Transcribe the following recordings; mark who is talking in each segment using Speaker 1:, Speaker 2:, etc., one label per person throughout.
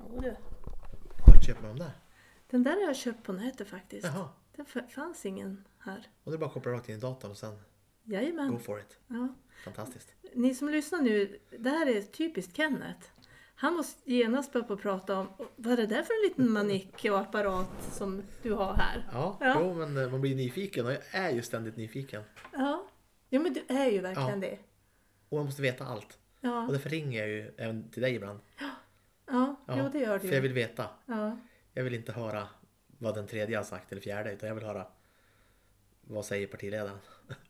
Speaker 1: Jo du.
Speaker 2: Var köper man dem där?
Speaker 1: Den där har jag köpt på nätet faktiskt.
Speaker 2: Jaha.
Speaker 1: Det f- fanns ingen här.
Speaker 2: Och det är bara att koppla rakt in i datorn och sen go
Speaker 1: Jajamän.
Speaker 2: for it.
Speaker 1: Ja.
Speaker 2: Fantastiskt.
Speaker 1: Ni som lyssnar nu, det här är typiskt Kenneth. Han måste genast börja på att prata om vad är det där för en liten manick och apparat som du har här?
Speaker 2: Ja,
Speaker 1: Ja.
Speaker 2: Jo, men eh, man blir nyfiken och jag är ju ständigt nyfiken.
Speaker 1: Ja, ja men du är ju verkligen
Speaker 2: Ja.
Speaker 1: det.
Speaker 2: Och man måste veta allt. Och
Speaker 1: Ja,
Speaker 2: därför ringer jag ju även till dig ibland.
Speaker 1: ja. jo det gör du
Speaker 2: För jag
Speaker 1: ju.
Speaker 2: vill veta.
Speaker 1: Ja.
Speaker 2: Jag vill inte höra vad den tredje har sagt eller fjärde utan jag vill höra vad säger partiledaren?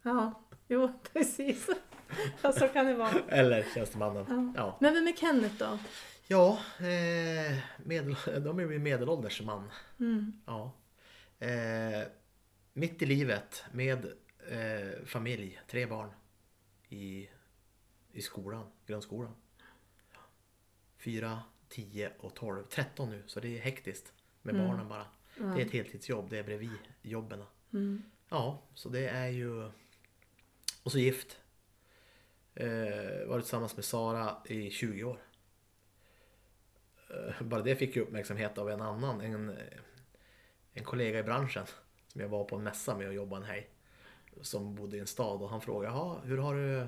Speaker 1: ja, jo precis. Ja, så kan det vara.
Speaker 2: Eller tjänstemannen. Ja,
Speaker 1: Men vem är Kenneth då?
Speaker 2: ja eh, medel, de är ju medelålders man.
Speaker 1: Mm.
Speaker 2: Ja. Eh, mitt i livet med eh, familj, tre barn i, i skolan, grundskolan. Fyra, tio och tolv. Tretton nu, så det är hektiskt med barnen bara. Det är ett heltidsjobb, det är bredvid jobben.
Speaker 1: Mm.
Speaker 2: Ja, så det är ju... Och så gift. Eh, varit tillsammans med Sara i 20 år. Eh, bara det fick ju uppmärksamhet av en annan, en, eh, en kollega i branschen som jag var på en mässa med och jobbade en helg. Som bodde i en stad och han frågade, Jaha, hur har du...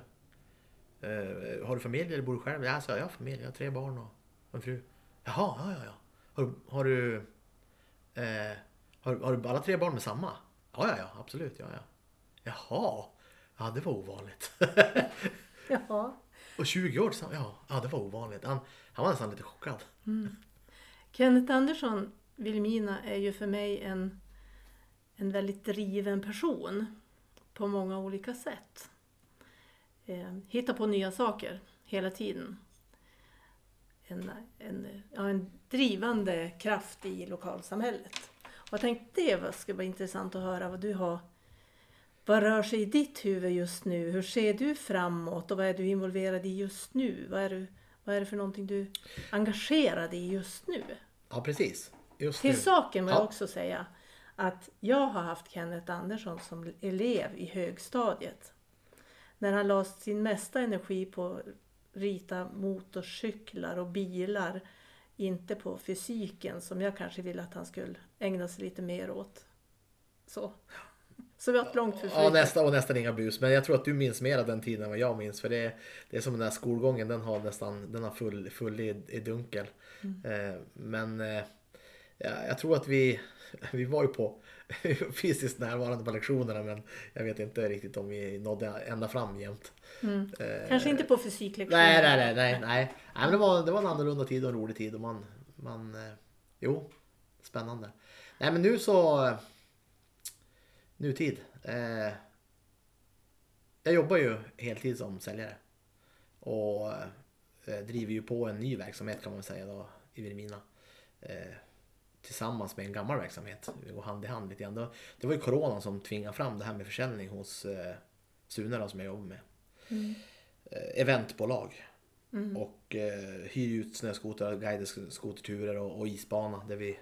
Speaker 2: Eh, har du familj eller bor du själv? Ja, sa jag, jag har familj, jag har tre barn och en fru. Jaha, ja, ja, ja. Har, du- har du... Eh, har, har du alla tre barn med samma? Ja, ja, ja, absolut. Ja, ja. Jaha, ja det var ovanligt.
Speaker 1: Jaha.
Speaker 2: och 20 år sa ja, ja det var ovanligt. Han, han var nästan lite chockad.
Speaker 1: Kenneth Andersson, Vilmina, är ju för mig en, en väldigt driven person på många olika sätt. Eh, hittar på nya saker hela tiden. En, en, ja, en drivande kraft i lokalsamhället. Och jag tänkte det var- skulle vara intressant att höra vad du har vad rör sig i ditt huvud just nu? Hur ser du framåt och vad är du involverad i just nu? Vad är, du, vad är det för någonting du är engagerad i just nu?
Speaker 2: Ja, precis. Just
Speaker 1: Till
Speaker 2: nu.
Speaker 1: saken vill jag
Speaker 2: Ja.
Speaker 1: också säga att jag har haft Kenneth Andersson som elev i högstadiet. När han la sin mesta energi på att rita motorcyklar och bilar, inte på fysiken som jag kanske ville att han skulle ägna sig lite mer åt. Så. Så vi har ett långt
Speaker 2: Ja,
Speaker 1: förflutet.
Speaker 2: nästan och nästan inga bus. Men jag tror att du minns mer av den tiden än vad jag minns. För det är, det är som den där skolgången, den har nästan den har full, full i, i dunkel. Eh, men eh, ja, jag tror att vi, vi var ju på fysiskt närvarande på lektionerna men jag vet inte riktigt om vi nådde ända fram jämt.
Speaker 1: Kanske inte på fysiklektioner.
Speaker 2: Nej, nej, nej, nej, nej. nej men det, var, det var en annorlunda tid och en rolig tid. Och man, man, eh, jo, spännande. Nej, men nu så... eh, Nutid. Eh, jag jobbar ju heltid som säljare. Och eh, driver ju på en ny verksamhet kan man väl säga då, i Vilhelmina. Eh, tillsammans med en gammal verksamhet. Vi går hand i hand lite grann. Det- Det var ju coronan som tvingade fram det här med försäljning hos eh, Sune då, som jag jobbar med eh, eventbolag. Och eh, hyr ut snöskotrar, guidade sk- skoterturer och, och isbana där vi,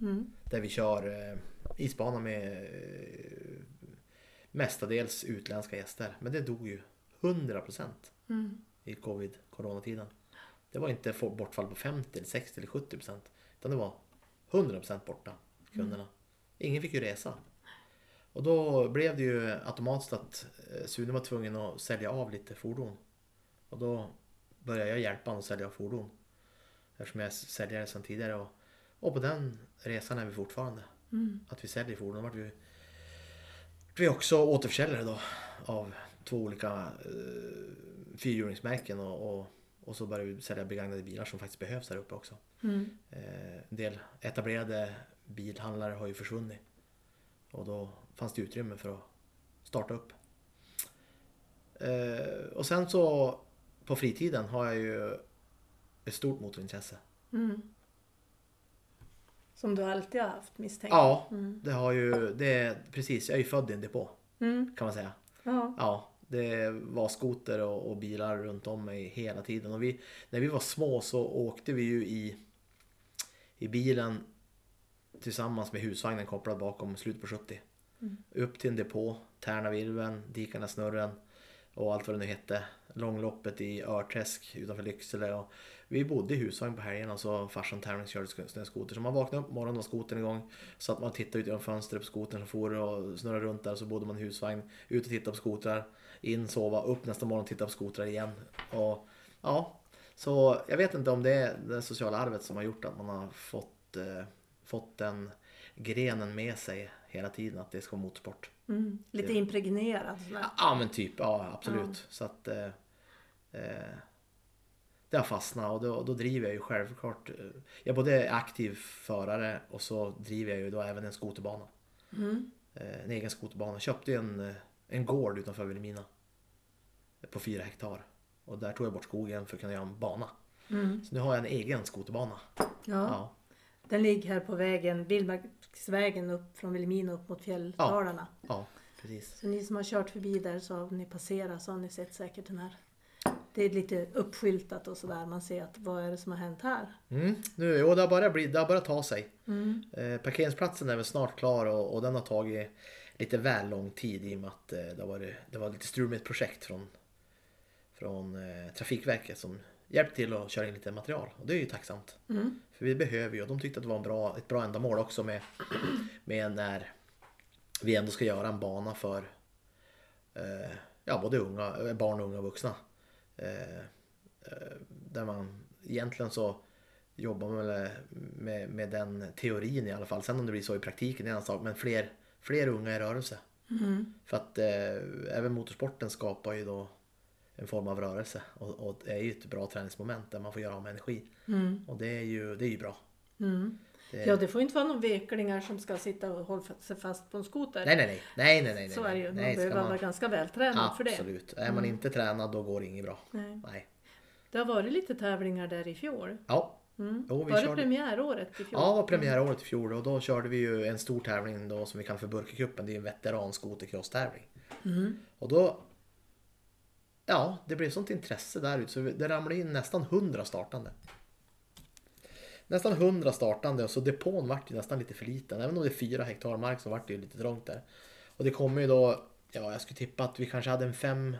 Speaker 1: Mm,
Speaker 2: där vi kör eh, isbana med eh, mestadels utländska gäster. Men det dog ju 100% procent
Speaker 1: mm,
Speaker 2: i covid, coronatiden. Det var inte få- bortfall på 50, eller 60 eller 70 procent. Utan det var 100 procent borta, kunderna. Ingen fick ju resa. Och då blev det ju automatiskt att eh, Sune var tvungen att sälja av lite fordon. Och då började jag hjälpa honom att sälja av fordon. Eftersom jag är säljare sedan tidigare. Och, och på den resan är vi fortfarande.
Speaker 1: mm,
Speaker 2: Att vi säljer fordon. Vart vi, vi är också återförsäljare då av två olika eh, fyrhjulingsmärken. Och, och, och så började vi sälja begagnade bilar som faktiskt behövs där uppe också.
Speaker 1: Mm.
Speaker 2: Eh, en del etablerade bilhandlare har ju försvunnit. Och då fanns det utrymme för att starta upp. Eh, och sen så på fritiden har jag ju ett stort motorintresse.
Speaker 1: mm. Som du alltid har haft Mm, misstänkt.
Speaker 2: Ja, det har ju, det är, precis, jag är ju född i en depå
Speaker 1: Mm.
Speaker 2: kan man säga.
Speaker 1: Ja.
Speaker 2: Ja, det var skoter och, och bilar runt om mig hela tiden. Och vi, när vi var små så åkte vi ju i, i bilen tillsammans med husvagnen kopplad bakom slutet på 70. Upp till en depå, Tärnavirveln, Dikarna Snurren och allt vad det nu hette. Långloppet i Örträsk utanför Lycksele och Vi bodde i husvagn på helgerna så farsan tävlingskörde sk- snöskoter. Så man vaknade upp på morgonen och skotern igång. Så att man tittade ut genom fönstret på skotern som for och snurrade runt där. Så bodde man i husvagn. Ut och tittade på skotrar. In, sova, upp nästa morgon och titta på skotrar igen. Och ja, så jag vet inte om det är det sociala arvet som har gjort att man har fått, eh, fått den grenen med sig hela tiden. Att det ska vara motorsport.
Speaker 1: Mm. Lite impregnerad. sådär.
Speaker 2: Ja men typ, ja absolut. Så att eh, eh, det har fastnat och då, då driver jag ju självklart. eh, Jag både är aktiv förare och så driver jag ju då även en skoterbana.
Speaker 1: Mm.
Speaker 2: Eh, en egen skoterbana. Jag köpte ju en, eh, en gård utanför Vilhelmina. På fyra hektar. Och där tog jag bort skogen för att kunna göra en bana.
Speaker 1: Mm.
Speaker 2: Så nu har jag en egen skoterbana.
Speaker 1: Ja.
Speaker 2: Ja,
Speaker 1: Den ligger här på vägen, Billmarksvägen upp från Vilhelmina upp mot fjälldalarna.
Speaker 2: ja precis.
Speaker 1: Så ni som har kört förbi där så har ni passerat så har ni sett säkert den här. Det är lite uppskyltat och sådär. Man ser att vad är det som har hänt här?
Speaker 2: Mm, nu, jo, det har börjat bli, det har börjat ta sig.
Speaker 1: Mm.
Speaker 2: Eh, parkeringsplatsen är väl snart klar och, och den har tagit lite väl lång tid i och med att eh, det, var, det var lite strul med ett projekt från, från eh, Trafikverket som hjälpte till att köra in lite material. Och det är ju tacksamt.
Speaker 1: Mm.
Speaker 2: För vi behöver ju, och de tyckte att det var en bra, ett bra ändamål också med, med när vi ändå ska göra en bana för eh, ja, både unga, barn och unga och vuxna. Eh, eh, där man egentligen så jobbar man väl med, med den teorin i alla fall. Sen om det blir så i praktiken är en annan sak. Men fler, fler unga i rörelse.
Speaker 1: Mm.
Speaker 2: För att eh, även motorsporten skapar ju då en form av rörelse. Och, och det är ju ett bra träningsmoment där man får göra av med energi.
Speaker 1: Mm.
Speaker 2: Och det är ju, det är ju bra.
Speaker 1: Mm.
Speaker 2: Det-
Speaker 1: Ja, det får inte vara några veklingar som ska sitta och hålla sig fast på en skoter.
Speaker 2: Nej, nej, nej. nej, nej, nej
Speaker 1: så är det ju. Man
Speaker 2: nej,
Speaker 1: behöver
Speaker 2: ska
Speaker 1: vara ganska vältränad för det. Mm.
Speaker 2: Absolut. Är man inte tränad då går det inget bra.
Speaker 1: Nej.
Speaker 2: Nej.
Speaker 1: Det har varit lite tävlingar där i fjol.
Speaker 2: Ja,
Speaker 1: Mm.
Speaker 2: Jo, vi
Speaker 1: var det
Speaker 2: körde-
Speaker 1: premiäråret i fjol?
Speaker 2: Ja, det var premiäråret i fjol och då körde vi ju en stor tävling då som vi kallar för Burkecupen. Det är en veteranskotercross-tävling.
Speaker 1: Mm.
Speaker 2: Och då... Ja, det blev sånt intresse där ute så vi- det ramlade in nästan 100 startande. Nästan 100 startande och så depån vart ju nästan lite för liten. Även om det är 4 hektar mark så vart det ju lite trångt där. Och det kommer ju då, ja jag skulle tippa att vi kanske hade en fem-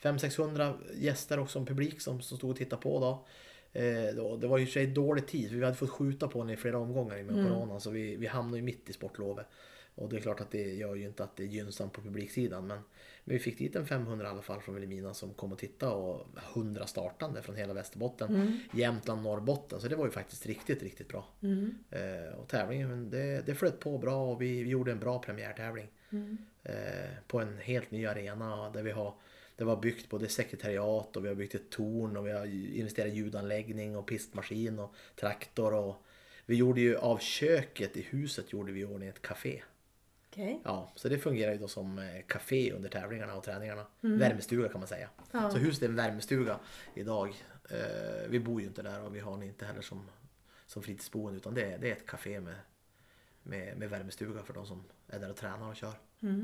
Speaker 2: 500-600 gäster också, en publik som, som stod och tittade på då. Eh, då. Det var ju i och för sig dålig tid, för vi hade fått skjuta på den i flera omgångar i och med coronan så vi, vi hamnade ju mitt i sportlovet. Och det är klart att det gör ju inte att det är gynnsamt på publiksidan men, men vi fick dit en 500 i alla fall från Vilhelmina som kom och tittade och 100 startande från hela Västerbotten,
Speaker 1: Mm.
Speaker 2: Jämtland, Norrbotten. Så det var ju faktiskt riktigt, riktigt bra. Eh, och tävlingen men det, det flöt på bra och vi, vi gjorde en bra premiärtävling.
Speaker 1: Mm.
Speaker 2: Eh, på en helt ny arena där vi har det var byggt både sekretariat och vi har byggt ett torn och vi har ju investerat i ljudanläggning och pistmaskin och traktor. Och vi gjorde ju av köket i huset gjorde vi i ordning ett café.
Speaker 1: Okej.
Speaker 2: Ja, så det fungerar ju då som eh, café under tävlingarna och träningarna. Värmestuga kan man säga.
Speaker 1: Ja.
Speaker 2: Så huset är en värmestuga idag. Eh, vi bor ju inte där och vi har den inte heller som, som fritidsboende utan det, är- det är ett café med, med, med värmestuga för de som är där och tränar och kör.
Speaker 1: Mm.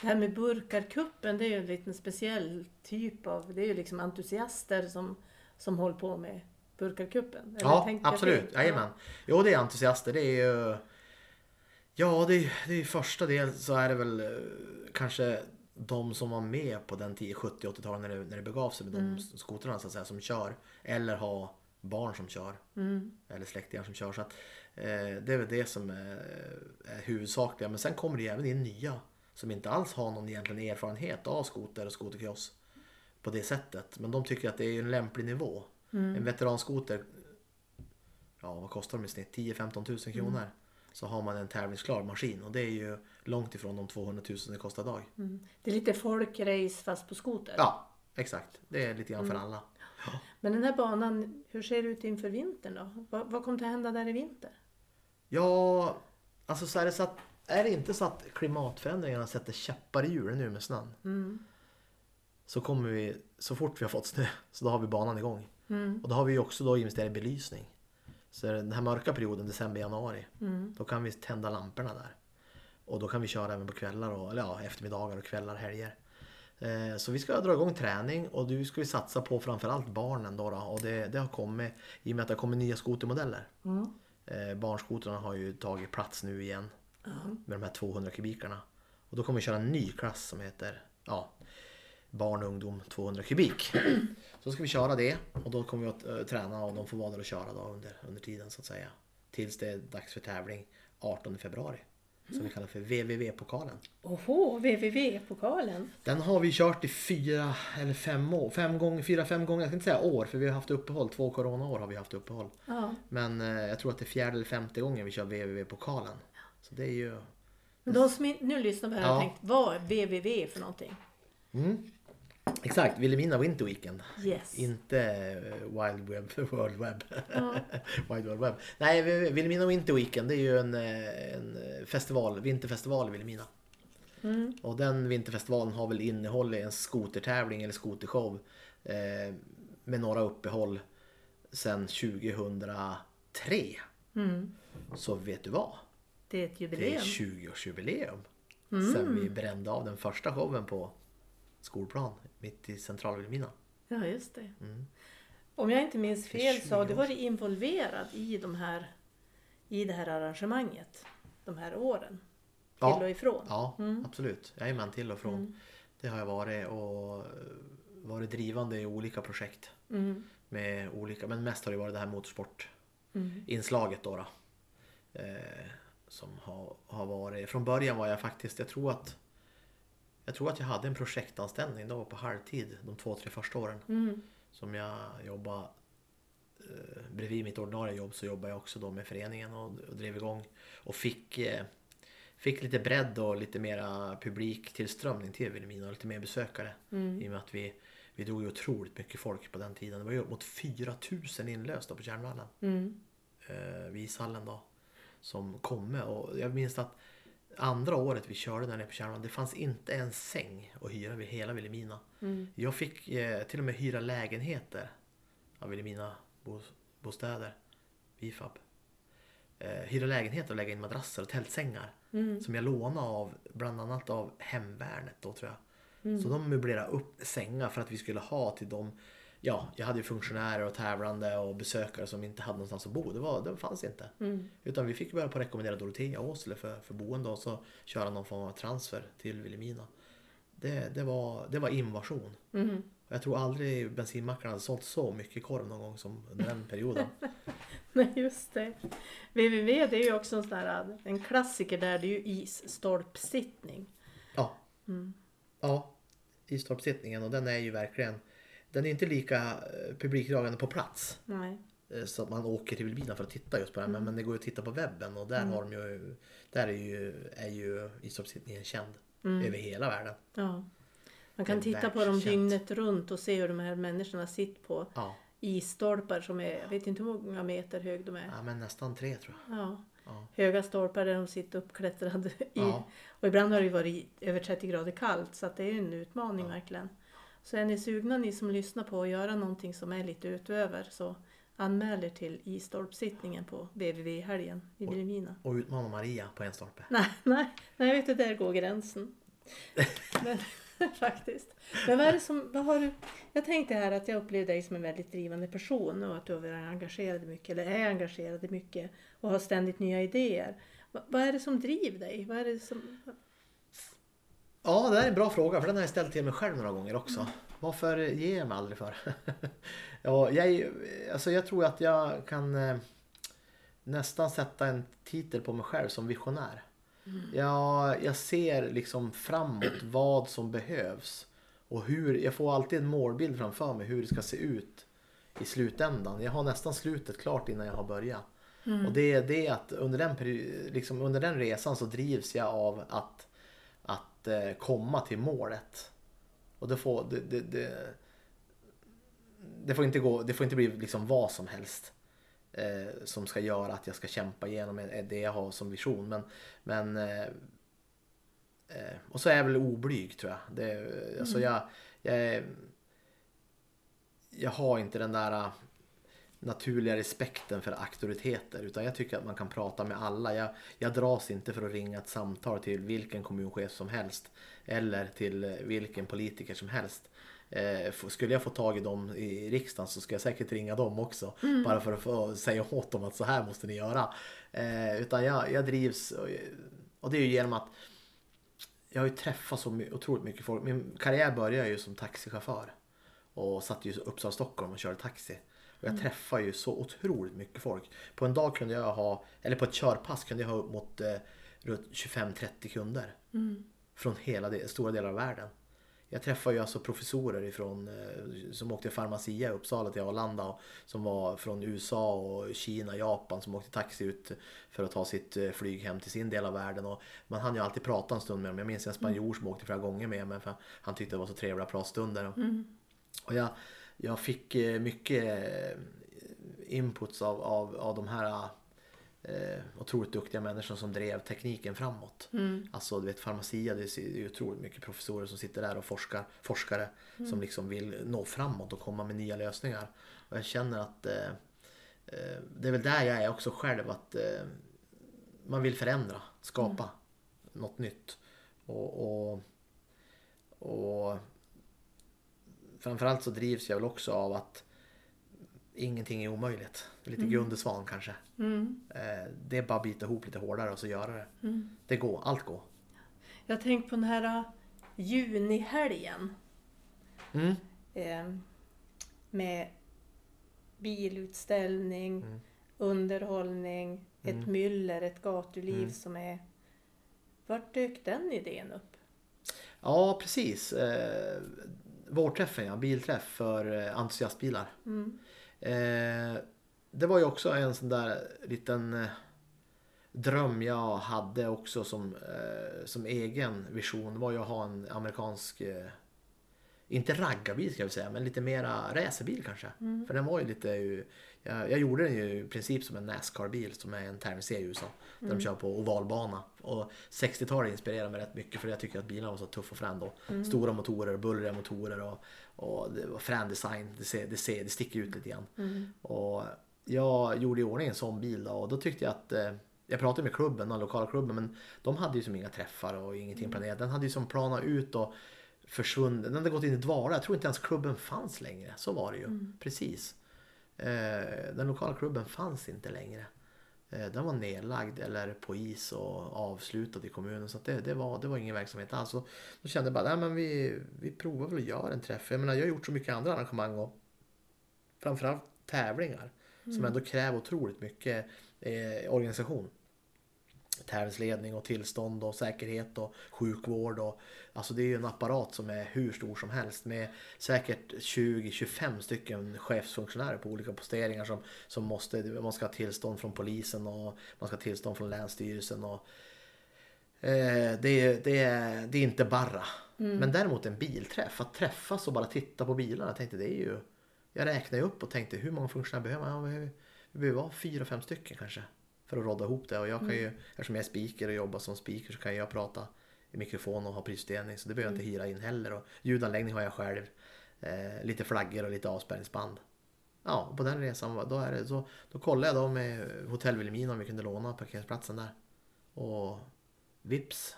Speaker 1: Det här med burkarkuppen, det är ju en liten speciell typ av... Det är ju liksom entusiaster som, som håller på med burkarkuppen. Eller
Speaker 2: Ja,
Speaker 1: tänker jag
Speaker 2: absolut.
Speaker 1: fel?
Speaker 2: Jajamän. Jo, det är entusiaster. Det är ju... Ja, det är, det är första delen så är det väl eh, kanske de som var med på den tiden, 70 80-talet när det, när det begav sig med
Speaker 1: Mm.
Speaker 2: de skotrarna så att säga, som kör. Eller har barn som kör.
Speaker 1: Mm,
Speaker 2: Eller släktingar som kör. Så att, eh, det är väl det som är, är huvudsakliga. Men sen kommer det ju även in nya som inte alls har någon egentligen erfarenhet av skoter och skoterkross på det sättet. Men de tycker att det är en lämplig nivå. En veteranskoter ja, vad kostar de i snitt? 10-15 000 kronor. Så har man en tävlingsklar maskin och det är ju långt ifrån de 200 000 det kostar idag.
Speaker 1: Mm. Det är lite folkrace fast på skoter.
Speaker 2: Ja, exakt. Det är lite grann för alla.
Speaker 1: Men den här banan, hur ser det ut inför vintern då? Vad, vad kommer att hända där i vinter?
Speaker 2: Ja, alltså så är det så att är det inte så att klimatförändringarna sätter käppar i hjulen nu med snön. Så kommer vi, så fort vi har fått snö, så då har vi banan igång. Och då har vi ju också då investerat i belysning. Så den här mörka perioden, december, januari, då kan vi tända lamporna där. Och då kan vi köra även på kvällar, och, eller ja, eftermiddagar och kvällar, helger. Eh, Så vi ska dra igång träning och nu ska vi satsa på framförallt barnen då. då. Och det, det har kommit, i och med att det har kommit nya skotermodeller. Eh, barnskotrarna har ju tagit plats nu igen med de här 200 kubikarna. Och då kommer vi köra en ny klass som heter, ja, barn och ungdom 200 kubik. Så ska vi köra det och då kommer vi att eh, träna och de får vara där och köra då under, under tiden så att säga. Tills det är dags för tävling 18 februari. Som vi kallar för VVV-pokalen.
Speaker 1: Oho, VVV-pokalen.
Speaker 2: Den har vi kört i fyra eller fem år. Fem gånger, fyra, fem gånger, jag ska inte säga år för vi har haft uppehåll. Två coronaår har vi haft uppehåll.
Speaker 1: Ja.
Speaker 2: Men eh, jag tror att det är fjärde eller femte gången vi kör VVV-pokalen. Så det är ju...
Speaker 1: Men de som in, nu lyssnar på det här och
Speaker 2: Ja.
Speaker 1: tänkt, vad är VVV för någonting?
Speaker 2: Mm. Exakt, Vilhelmina Winter Weekend.
Speaker 1: Yes.
Speaker 2: Inte eh, Wild Web, World Web.
Speaker 1: Ja.
Speaker 2: Wide World Web. Nej, Vi- Vilhelmina Winter Weekend det är ju en, eh, en festival, vinterfestival i Vilhelmina.
Speaker 1: Mm.
Speaker 2: Och den vinterfestivalen har väl innehållit en skotertävling eller skotershow eh, med några uppehåll sedan 2003.
Speaker 1: Mm.
Speaker 2: Så vet du vad?
Speaker 1: Det är ett
Speaker 2: Det är
Speaker 1: jubileum.
Speaker 2: 20-årsjubileum. Sen vi brände av den första showen på skolplan mitt i centrala Vilhelmina.
Speaker 1: Ja, just det. Om jag inte minns
Speaker 2: Mm. är
Speaker 1: fel
Speaker 2: 20
Speaker 1: så har du
Speaker 2: år
Speaker 1: varit involverad i, de här, i det här arrangemanget de här åren. Till
Speaker 2: Ja.
Speaker 1: och ifrån.
Speaker 2: Ja, absolut. Jag är man till och från. Det har jag varit och eh, varit drivande i olika projekt.
Speaker 1: Mm.
Speaker 2: Med olika, men mest har det varit det här
Speaker 1: Mm.
Speaker 2: motorsportinslaget. Då, då, eh, som har, har varit, från början var jag faktiskt, jag tror att jag tror att jag hade en projektanställning då på halvtid de två, tre första åren.
Speaker 1: Mm.
Speaker 2: Som jag jobbade eh, bredvid mitt ordinarie jobb så jobbade jag också då med föreningen och, och drev igång. Och fick, eh, fick lite bredd och lite mera publiktillströmning till Vilhelmina och lite mer besökare.
Speaker 1: Mm.
Speaker 2: I och med att vi, vi drog ju otroligt mycket folk på den tiden. Det var ju upp mot 4000 inlösta på Järnvallen
Speaker 1: Mm.
Speaker 2: eh, vid ishallen då. Som komme och jag minns att andra året vi körde där nere på Tjärnan, det fanns inte en säng att hyra vid hela Vilhelmina.
Speaker 1: Mm.
Speaker 2: Jag fick eh, till och med hyra lägenheter av Vilhelmina bo, bostäder, Vifab. Eh, hyra lägenheter och lägga in madrasser och tältsängar.
Speaker 1: Mm.
Speaker 2: Som jag lånade av bland annat av Hemvärnet då tror jag.
Speaker 1: Mm.
Speaker 2: Så de möblerade upp sängar för att vi skulle ha till dem. Ja, jag hade ju funktionärer och tävlande och besökare som inte hade någonstans att bo. Det, var, det fanns inte.
Speaker 1: Mm.
Speaker 2: Utan vi fick börja på att rekommendera Dorotea och Åsele för, för boende och så köra någon form av transfer till Vilhelmina. Det, det, var, det var invasion.
Speaker 1: Mm.
Speaker 2: Jag tror aldrig bensinmackarna hade sålt så mycket korv någon gång som under den perioden.
Speaker 1: Nej, just det. VVV det är ju också en, sån här, en klassiker där det är ju isstolpsittning.
Speaker 2: Ja,
Speaker 1: Mm.
Speaker 2: ja Istorpssittningen och den är ju verkligen den är inte lika eh, publikdragande på plats.
Speaker 1: Nej.
Speaker 2: eh, Så att man åker till Vilhelmina för att titta just på det här. Men- Men det går ju att titta på webben och där, har de ju, där är ju, är ju istorpssittningen känd över hela världen.
Speaker 1: Mm. Ja. Man
Speaker 2: Det
Speaker 1: kan
Speaker 2: är
Speaker 1: titta på dem
Speaker 2: världskänt.
Speaker 1: dygnet runt och se hur de här människorna sitter på
Speaker 2: Ja,
Speaker 1: isstolpar som är, jag vet inte hur många meter hög de är.
Speaker 2: ja men nästan tre tror jag.
Speaker 1: Ja.
Speaker 2: Ja.
Speaker 1: Höga stolpar där de sitter uppklättrade. I.
Speaker 2: Ja.
Speaker 1: Och ibland har det ju varit över 30 grader kallt så att det är ju en utmaning verkligen. Så är ni sugna ni som lyssnar på att göra någonting som är lite utöver så anmäl er till isstolpsittningen på VVV-helgen i Vilhelmina.
Speaker 2: Och utmanar Maria på en stolpe.
Speaker 1: Nej, nej, nej, vet du, där går gränsen. Men, faktiskt. Men vad är det som, vad har du, jag tänkte här att jag upplever dig som en väldigt drivande person och att du har varit engagerad i mycket, eller är engagerad i mycket och har ständigt nya idéer. Va, vad är det som driver dig? Vad är det som,
Speaker 2: Ja, det här är en bra fråga för den har jag ställt till mig själv några gånger också. Varför ger jag mig aldrig för? ja, jag, är ju- alltså jag tror att jag kan eh, nästan sätta en titel på mig själv som visionär. Jag, jag ser liksom framåt vad som behövs. Och hur, jag får alltid en målbild framför mig hur det ska se ut i slutändan. Jag har nästan slutet klart innan jag har börjat. Och det är det är att under den, peri- liksom under den resan så drivs jag av att, att eh, komma till målet. Och det får, det, det, det, det får inte gå, det får inte bli liksom vad som helst. Eh, som ska göra att jag ska kämpa igenom eh, det jag har som vision. Men, men eh, eh, och så är jag väl oblyg tror jag. Det, eh, alltså jag, jag, är- jag har inte den där eh, naturliga respekten för auktoriteter utan jag tycker att man kan prata med alla. Jag, jag dras inte för att ringa ett samtal till vilken kommunchef som helst eller till eh, vilken politiker som helst. Eh, f- skulle jag få tag i dem i riksdagen så ska jag säkert ringa dem också. Bara för att få säga åt dem att så här måste ni göra. Eh, utan jag, jag drivs och, och det är ju genom att jag har ju träffat så my- otroligt mycket folk. Min karriär började ju som taxichaufför. Och satt ju i Uppsala, Stockholm och körde taxi. Och jag träffade ju så otroligt mycket folk. På en dag kunde jag ha, eller på ett körpass kunde jag ha upp mot eh, runt 25-30 kunder.
Speaker 1: mm,
Speaker 2: Från hela de, stora delar av världen. Jag träffade ju alltså professorer ifrån, eh, som åkte farmacia i Uppsala till Arlanda. Och, som var från USA och Kina, Japan som åkte taxi ut för att ta sitt eh, flyg hem till sin del av världen. Och man hann ju alltid prata en stund med dem. Jag minns en spanjor som åkte flera gånger med mig för han tyckte det var så trevliga pratstunder.
Speaker 1: mm,
Speaker 2: Och jag, jag fick eh, mycket eh, inputs av, av, av de här eh, otroligt duktiga människor som drev tekniken framåt.
Speaker 1: mm,
Speaker 2: Alltså du vet farmacia, det är ju otroligt mycket professorer som sitter där och forskar, forskare som liksom vill nå framåt och komma med nya lösningar. Och jag känner att eh, eh, det är väl där jag är också själv, att eh, man vill förändra, skapa något nytt. Och, och, och framförallt så drivs jag väl också av att ingenting är omöjligt. Det är Lite Gunde Svan kanske.
Speaker 1: Mm.
Speaker 2: Eh, Det är bara att bita ihop lite hårdare och så göra det. Det går, allt går.
Speaker 1: Jag tänkte på den här eh, junihelgen
Speaker 2: Mm.
Speaker 1: eh, med bilutställning,
Speaker 2: Mm.
Speaker 1: underhållning, ett myller, ett gatuliv
Speaker 2: Mm.
Speaker 1: som är... Vart dök den idén upp?
Speaker 2: Ja, precis. Eh, Vårträffen, ja. Bilträff för eh, entusiastbilar.
Speaker 1: Mm.
Speaker 2: Eh, det var ju också en sån där liten eh, dröm jag hade också som, eh, som egen vision. var ju att ha en amerikansk, eh, inte raggarbil ska jag säga, men lite mera racerbil kanske. För den var ju lite, ju- jag, jag gjorde den ju i princip som en Nascar-bil som är en Term C i USA. Där
Speaker 1: mm,
Speaker 2: de kör på ovalbana. Och 60-talet inspirerade mig rätt mycket för jag tycker att bilarna var så tuffa och frän då.
Speaker 1: mm,
Speaker 2: Stora motorer, bullriga motorer och, och det var frän design. Det, ser, det, ser, det sticker ut lite grann.
Speaker 1: mm,
Speaker 2: Och jag gjorde i ordning en sån bil då, och då tyckte jag att eh, jag pratade med klubben, den lokala klubben, men de hade ju som inga träffar och ingenting planerat. Den hade ju som planat ut och försvunnit. Den hade gått in i dvala. Jag tror inte ens klubben fanns längre. Så var det ju. Precis. Eh, den lokala klubben fanns inte längre. Eh, den var nedlagd eller på is och avslutad i kommunen. Så att det, det, var, det var ingen verksamhet alls. Så Då kände jag bara, nej men vi, vi provar väl att göra en träff. Jag menar, jag har gjort så mycket andra arrangemang och framförallt tävlingar. Som ändå kräver otroligt mycket eh, organisation. Tävlingsledning och tillstånd och säkerhet och sjukvård. Och, alltså det är ju en apparat som är hur stor som helst med säkert 20-25 stycken chefsfunktionärer på olika posteringar som, som måste, man ska ha tillstånd från polisen och man ska ha tillstånd från länsstyrelsen. Och, Eh, det, är- det, är- det är inte bara. Men däremot en bilträff. Att träffas och bara titta på bilarna. Jag tänkte det är ju... Jag räknade upp och tänkte hur många funktionärer behöver man? Ja, vi behöver- vi behöver vara fyra, fem stycken kanske. För att rodda ihop det. Och jag kan ju, eftersom jag är speaker och jobbar som speaker så kan jag prata i mikrofon och ha prisutdelning. Så det behöver jag inte hyra in heller. Och ljudanläggning har jag själv. Eh, lite flaggor och lite avspärrningsband. Ja, och på den resan var- då, är det, så, då kollade jag då med Hotell Vilhelmina om vi kunde låna parkeringsplatsen där. Och vips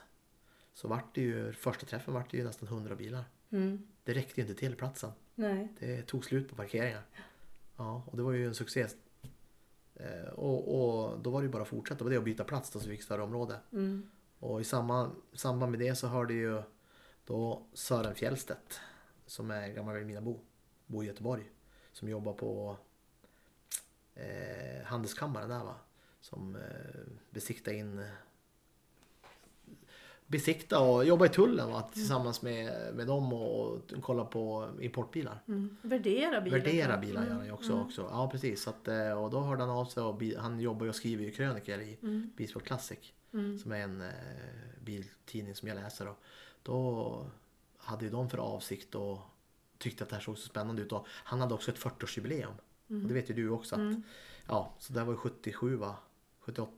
Speaker 2: så vart det ju, första träffen vart det ju nästan 100 bilar.
Speaker 1: Mm.
Speaker 2: Det räckte ju inte till platsen.
Speaker 1: Nej.
Speaker 2: Det tog slut på parkeringar. Ja, och det var ju en succé. Eh, Och, och då var det ju bara att fortsätta. Det var det att byta plats då så vi fick större område.
Speaker 1: Mm.
Speaker 2: Och i samma, samband med det så hörde ju då Sören Fjällstedt som är gammal Vilhelminabo, bor i Göteborg, som jobbar på eh, Handelskammaren där va, som eh, besiktar in besikta och jobba i tullen va? tillsammans med, med dem och, kolla på importbilar.
Speaker 1: Mm. Värdera bilen.
Speaker 2: Värdera bilar gör han ju
Speaker 1: Mm.
Speaker 2: också. också. Ja precis. Så att, eh, och då hörde han av sig och bi- han jobbar ju och skriver ju krönikor i
Speaker 1: Mm,
Speaker 2: Bilsport Classic. Som är en eh, biltidning som jag läser. Och då hade ju de för avsikt och tyckte att det här såg så spännande ut. Och han hade också ett 40-årsjubileum.
Speaker 1: mm.
Speaker 2: Och det vet ju du också. Att, Ja, så det var ju 77 va? 78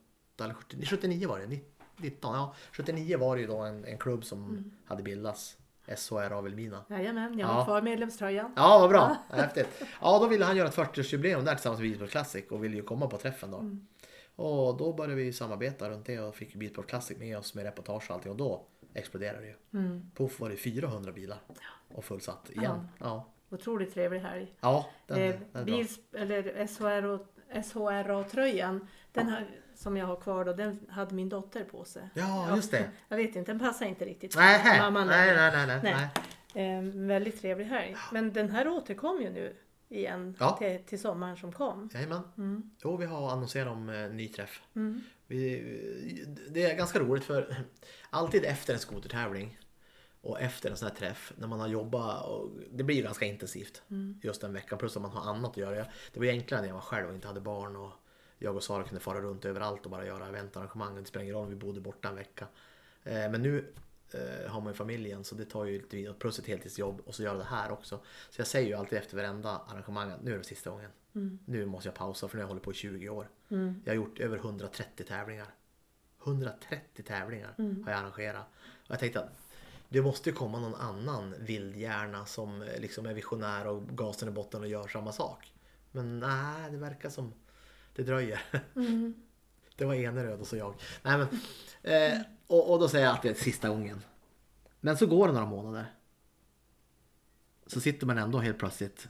Speaker 2: eller 79, 79 var det. Ni- 19, ja. 79 var det ju då en, en klubb som hade bildats. SHR Vilhelmina.
Speaker 1: Jajamän, jag har
Speaker 2: Ja.
Speaker 1: kvar medlemströjan.
Speaker 2: Ja, vad bra. Häftigt. Ja, då ville han göra ett 40-årsjubileum där tillsammans med Bilsport Classic och ville ju komma på träffen då. Och då började vi samarbeta runt det och fick Bilsport Classic med oss med reportage och allting och då exploderade det ju.
Speaker 1: Mm.
Speaker 2: Poff var det 400 bilar och fullsatt igen. Ja,
Speaker 1: Otroligt trevlig helg.
Speaker 2: ja den,
Speaker 1: Eh,
Speaker 2: den är bra.
Speaker 1: Bils, eller SHR och SHRA-tröjan, den här, som jag har kvar då, den hade min dotter på sig.
Speaker 2: Ja, just det.
Speaker 1: Jag vet inte, den passar inte riktigt.
Speaker 2: Nej, nej,
Speaker 1: mamman
Speaker 2: nej, nej, nej,
Speaker 1: Nej.
Speaker 2: nej.
Speaker 1: Eh, väldigt trevlig helg. Men den här återkom ju nu igen
Speaker 2: Ja.
Speaker 1: till, till sommaren som kom.
Speaker 2: Jajamän.
Speaker 1: Mm.
Speaker 2: Jo, vi har annonserat om eh, ny träff.
Speaker 1: Mm.
Speaker 2: Vi, det är ganska roligt för alltid efter en skotertävling och efter en sån här träff när man har jobbat och det blir ju ganska intensivt just den veckan plus att man har annat att göra. Jag- Det var ju enklare när jag var själv och inte hade barn och jag och Sara kunde fara runt överallt och bara göra eventarrangemang. Det spelar ingen roll om vi bodde borta en vecka. Eh, Men nu eh, har man ju familjen så det tar ju lite tid och plus ett heltidsjobb och så göra det här också. Så jag säger ju alltid efter varenda arrangemang att nu är det sista gången. Nu måste jag pausa för nu har jag hållit på i 20 år. Jag har gjort över 130 tävlingar. 130 tävlingar har jag arrangerat. Och jag tänkte att det måste ju komma någon annan vildhjärna som eh, liksom är visionär och gasen i botten och gör samma sak. Men nej, det verkar som det dröjer. Det var Eneröd och så jag. Nej, men, eh, och, och då säger jag att det är sista gången. Men så går det några månader. Så sitter man ändå helt plötsligt.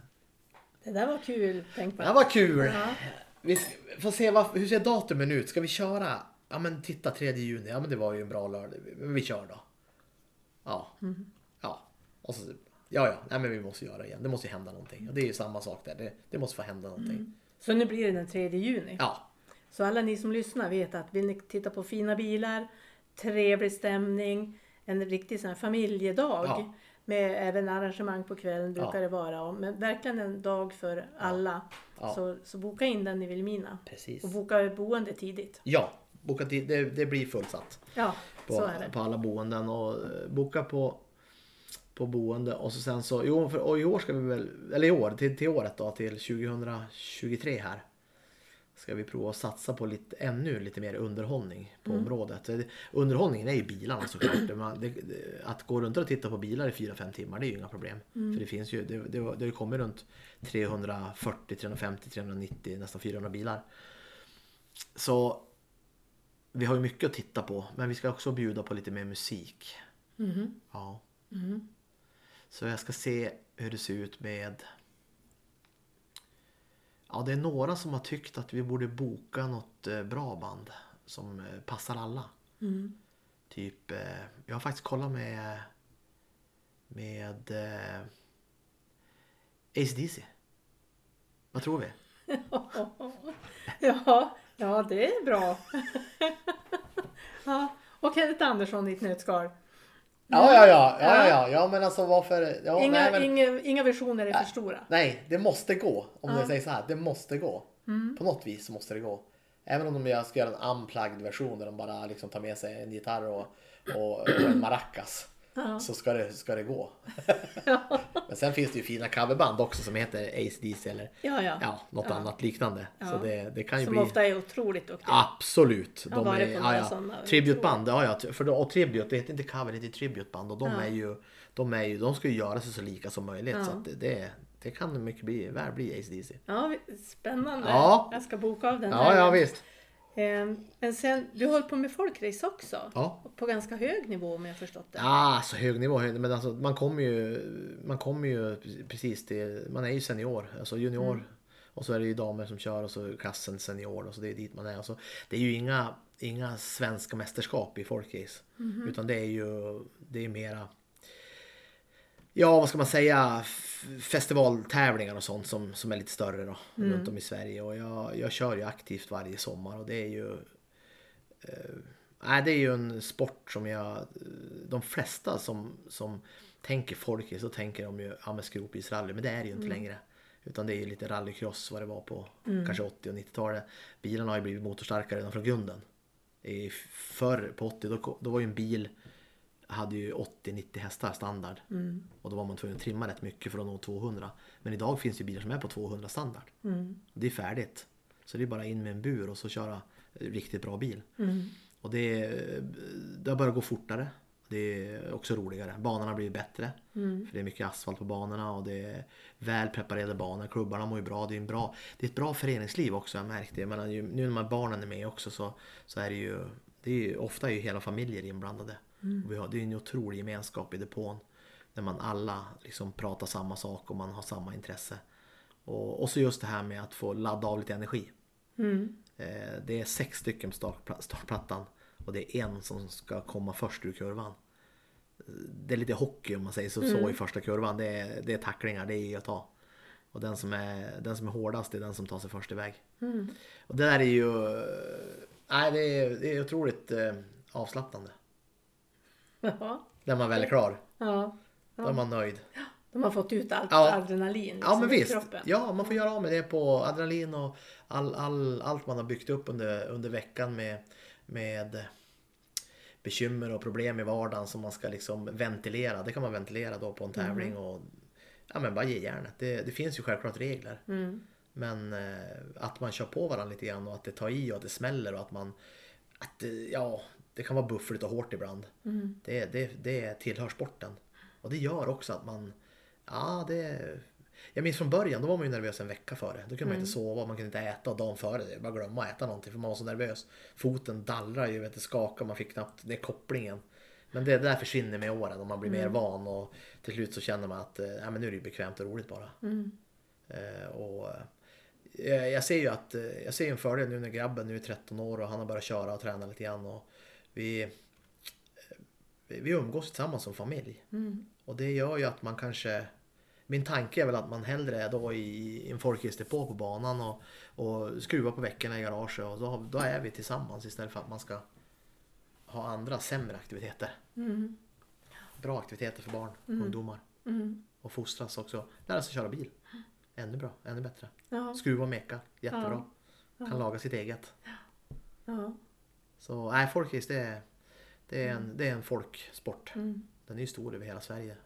Speaker 1: Det där var kul, tänk
Speaker 2: Det här
Speaker 1: på.
Speaker 2: var kul!
Speaker 1: Ja.
Speaker 2: Vi s- får se vad, hur ser datumen ut? Ska vi köra? Ja men titta 3 juni, ja men det var ju en bra lördag. Men vi kör då. Ja. Ja. Och så, ja ja, nej men vi måste göra det igen. Det måste ju hända någonting. Och det är ju samma sak där. Det, det måste få hända någonting.
Speaker 1: Så nu blir det den 3 juni.
Speaker 2: Ja.
Speaker 1: Så alla ni som lyssnar vet att vill ni titta på fina bilar, trevlig stämning, en riktig sån här familjedag
Speaker 2: Ja.
Speaker 1: med även arrangemang på kvällen brukar
Speaker 2: Ja.
Speaker 1: det vara. och- Men verkligen en dag för alla.
Speaker 2: Ja.
Speaker 1: Så, så boka in den i Vilhelmina.
Speaker 2: Precis.
Speaker 1: Och boka boende tidigt.
Speaker 2: Ja. Boka tid, det, det blir fullsatt.
Speaker 1: Ja, så
Speaker 2: på,
Speaker 1: är det.
Speaker 2: på alla boenden och eh, boka på, på boende och så sen så, jo, för, och i år ska vi väl, eller i år, till, till året då, till 2023 här. Ska vi prova att satsa på lite, ännu lite mer underhållning på
Speaker 1: Mm.
Speaker 2: området. Eh, Underhållningen är ju bilarna såklart. Det- man- det, det, att gå runt och titta på bilar i 4-5 timmar det är ju inga problem.
Speaker 1: Mm.
Speaker 2: För det finns ju, det, det, det har ju kommit runt 340, 350, 390, nästan 400 bilar. Så vi har ju mycket att titta på, men vi ska också bjuda på lite mer musik.
Speaker 1: Mhm.
Speaker 2: Ja. Så jag ska se hur det ser ut med... Ja, det är några som har tyckt att vi borde boka något eh, bra band som eh, passar alla. Typ, eh, jag har faktiskt kollat med med eh, ACDC. Vad tror vi?
Speaker 1: ja, ja, det är bra. ja. Och Kenneth Andersson i ett nötskal.
Speaker 2: Ja, ja, ja, ja, ja, ja, men alltså varför? Ja,
Speaker 1: Inga,
Speaker 2: nej, men...
Speaker 1: inga, inga visioner är för stora.
Speaker 2: Nej, det måste gå. Om jag säger så här, det måste gå.
Speaker 1: Mm.
Speaker 2: På något vis så måste det gå. Även om de gör- ska göra en unplugged version där de bara liksom tar med sig en gitarr och, och, och en maracas.
Speaker 1: Ja.
Speaker 2: Så ska det, ska det gå. Men sen finns det ju fina coverband också som heter Ace DC eller
Speaker 1: Ja, ja.
Speaker 2: ja, något annat liknande. Så
Speaker 1: Ja.
Speaker 2: det, det kan ju
Speaker 1: Som
Speaker 2: bli...
Speaker 1: ofta är otroligt duktiga.
Speaker 2: Absolut.
Speaker 1: Jag har
Speaker 2: De är,
Speaker 1: varit på
Speaker 2: ja,
Speaker 1: några
Speaker 2: ja.
Speaker 1: sådana.
Speaker 2: Tributeband, ja, ja. För, då- och tribut, det heter inte cover, det heter tributeband. Och de, är ju, de, är ju, de ska ju göra sig så lika som möjligt. Så att det, det, det kan mycket bli, väl bli ACDC.
Speaker 1: Ja, vi- spännande.
Speaker 2: Ja.
Speaker 1: Jag ska boka av den
Speaker 2: Ja,
Speaker 1: här.
Speaker 2: ja visst.
Speaker 1: Ehm, Men sen, du håller på med folkrace också.
Speaker 2: Ja.
Speaker 1: På ganska hög nivå om jag förstått det.
Speaker 2: Ja, så hög nivå. hög- Men alltså, man kommer ju, man kommer ju precis till, man är ju senior, alltså junior. Och så är det ju damer som kör och så klassen senior och så det är dit man är. Och så, det är ju inga, inga svenska mästerskap i folkrace. Utan det är ju, det är mera Ja, vad ska man säga? F- Festivaltävlingar och sånt som, som är lite större då, runt om i Sverige. Och jag, jag kör ju aktivt varje sommar och det är ju... Eh, nej, det är ju en sport som jag... eh, De flesta som, som tänker folk i så tänker de ju ja, men skrotbilsrally, men det är det ju inte längre. Utan det är ju lite rallycross vad det var på kanske 80 och 90-talet. Bilarna har ju blivit motorstarkare redan från grunden. I förr på 80 då, ko- då var ju en bil hade ju 80-90 hästar standard.
Speaker 1: Mm,
Speaker 2: Och då var man tvungen att trimma rätt mycket för att nå 200. Men idag finns ju bilar som är på 200 standard.
Speaker 1: mm,
Speaker 2: Det är färdigt. Så det är bara in med en bur och så köra riktigt bra bil.
Speaker 1: mm,
Speaker 2: Och det, är- det har börjat gå fortare. Det är också roligare. Banorna blir bättre.
Speaker 1: mm,
Speaker 2: För det är mycket asfalt på banorna och det är väl preparerade banor. Klubbarna mår ju bra. Det är, en bra, det är ett bra föreningsliv också, jag har märkt det. Jag menar, ju- nu när man barnen är med också så, så är det ju, det är ju ofta är ju hela familjer inblandade. Och vi har, det är en otrolig gemenskap i depån. När man alla liksom pratar samma sak och man har samma intresse. Och, och så just det här med att få ladda av lite energi.
Speaker 1: Mm.
Speaker 2: Eh, Det är sex stycken på startpla- startplattan och det är en som ska komma först ur kurvan. Eh, Det är lite hockey om man säger så,
Speaker 1: Mm.
Speaker 2: så i första kurvan. Det är, det är tacklingar, det är ge och ta. Och den som, är, den som är hårdast är den som tar sig först iväg.
Speaker 1: mm.
Speaker 2: Och det där är ju... eh, Nej, det är, det är otroligt eh, avslappnande.
Speaker 1: Ja.
Speaker 2: När man väl är klar,
Speaker 1: ja.
Speaker 2: då är man nöjd.
Speaker 1: De har fått ut allt
Speaker 2: Ja.
Speaker 1: adrenalin liksom
Speaker 2: Ja men
Speaker 1: i
Speaker 2: visst.
Speaker 1: kroppen. Mm.
Speaker 2: Ja, man får göra av med det på adrenalin och all, all, allt man har byggt upp under, under veckan med, med bekymmer och problem i vardagen som man ska liksom ventilera. Det kan man ventilera då på en
Speaker 1: Mm.
Speaker 2: tävling och ja, men bara ge järnet. Det, det finns ju självklart regler.
Speaker 1: Mm.
Speaker 2: Men eh, att man kör på varandra lite grann och att det tar i och att det smäller och att man... Att, det- ja, det kan vara buffligt och hårt ibland.
Speaker 1: Mm.
Speaker 2: Det, det, det tillhör sporten. Och det gör också att man... Ja, det... Jag minns från början, då var man ju nervös en vecka före. Då kunde man inte sova, man kunde inte äta och dagen före. Det var bara att glömma att äta någonting för man var så nervös. Foten dallrar ju, vet, det skakar, man fick knappt ner kopplingen. Men det där försvinner med åren och man blir mer van och till slut så känner man att eh, ja, men nu är det ju bekvämt och roligt bara.
Speaker 1: Mm.
Speaker 2: Eh, Och eh, jag ser ju att eh, jag ser ju en fördel nu när grabben nu är 13 år och han har börjat köra och träna lite grann. Och vi, eh, vi vi umgås tillsammans som familj.
Speaker 1: Mm.
Speaker 2: Och det gör ju att man kanske... Min tanke är väl att man hellre är då i en folkracedepå på banan och, och skruvar på veckorna i garaget. Och då, då är vi tillsammans istället för att man ska ha andra sämre aktiviteter.
Speaker 1: Mm.
Speaker 2: Bra aktiviteter för barn, ungdomar
Speaker 1: Mm.
Speaker 2: och fostras också. Lära sig köra bil. Ännu bra, ännu bättre.
Speaker 1: Ja.
Speaker 2: Skruva och meka, jättebra.
Speaker 1: Ja.
Speaker 2: Kan laga sitt eget.
Speaker 1: ja. mm,
Speaker 2: Så nej, folkrace det är, det, är en, det är en folksport.
Speaker 1: Mm.
Speaker 2: Den är ju stor över hela Sverige.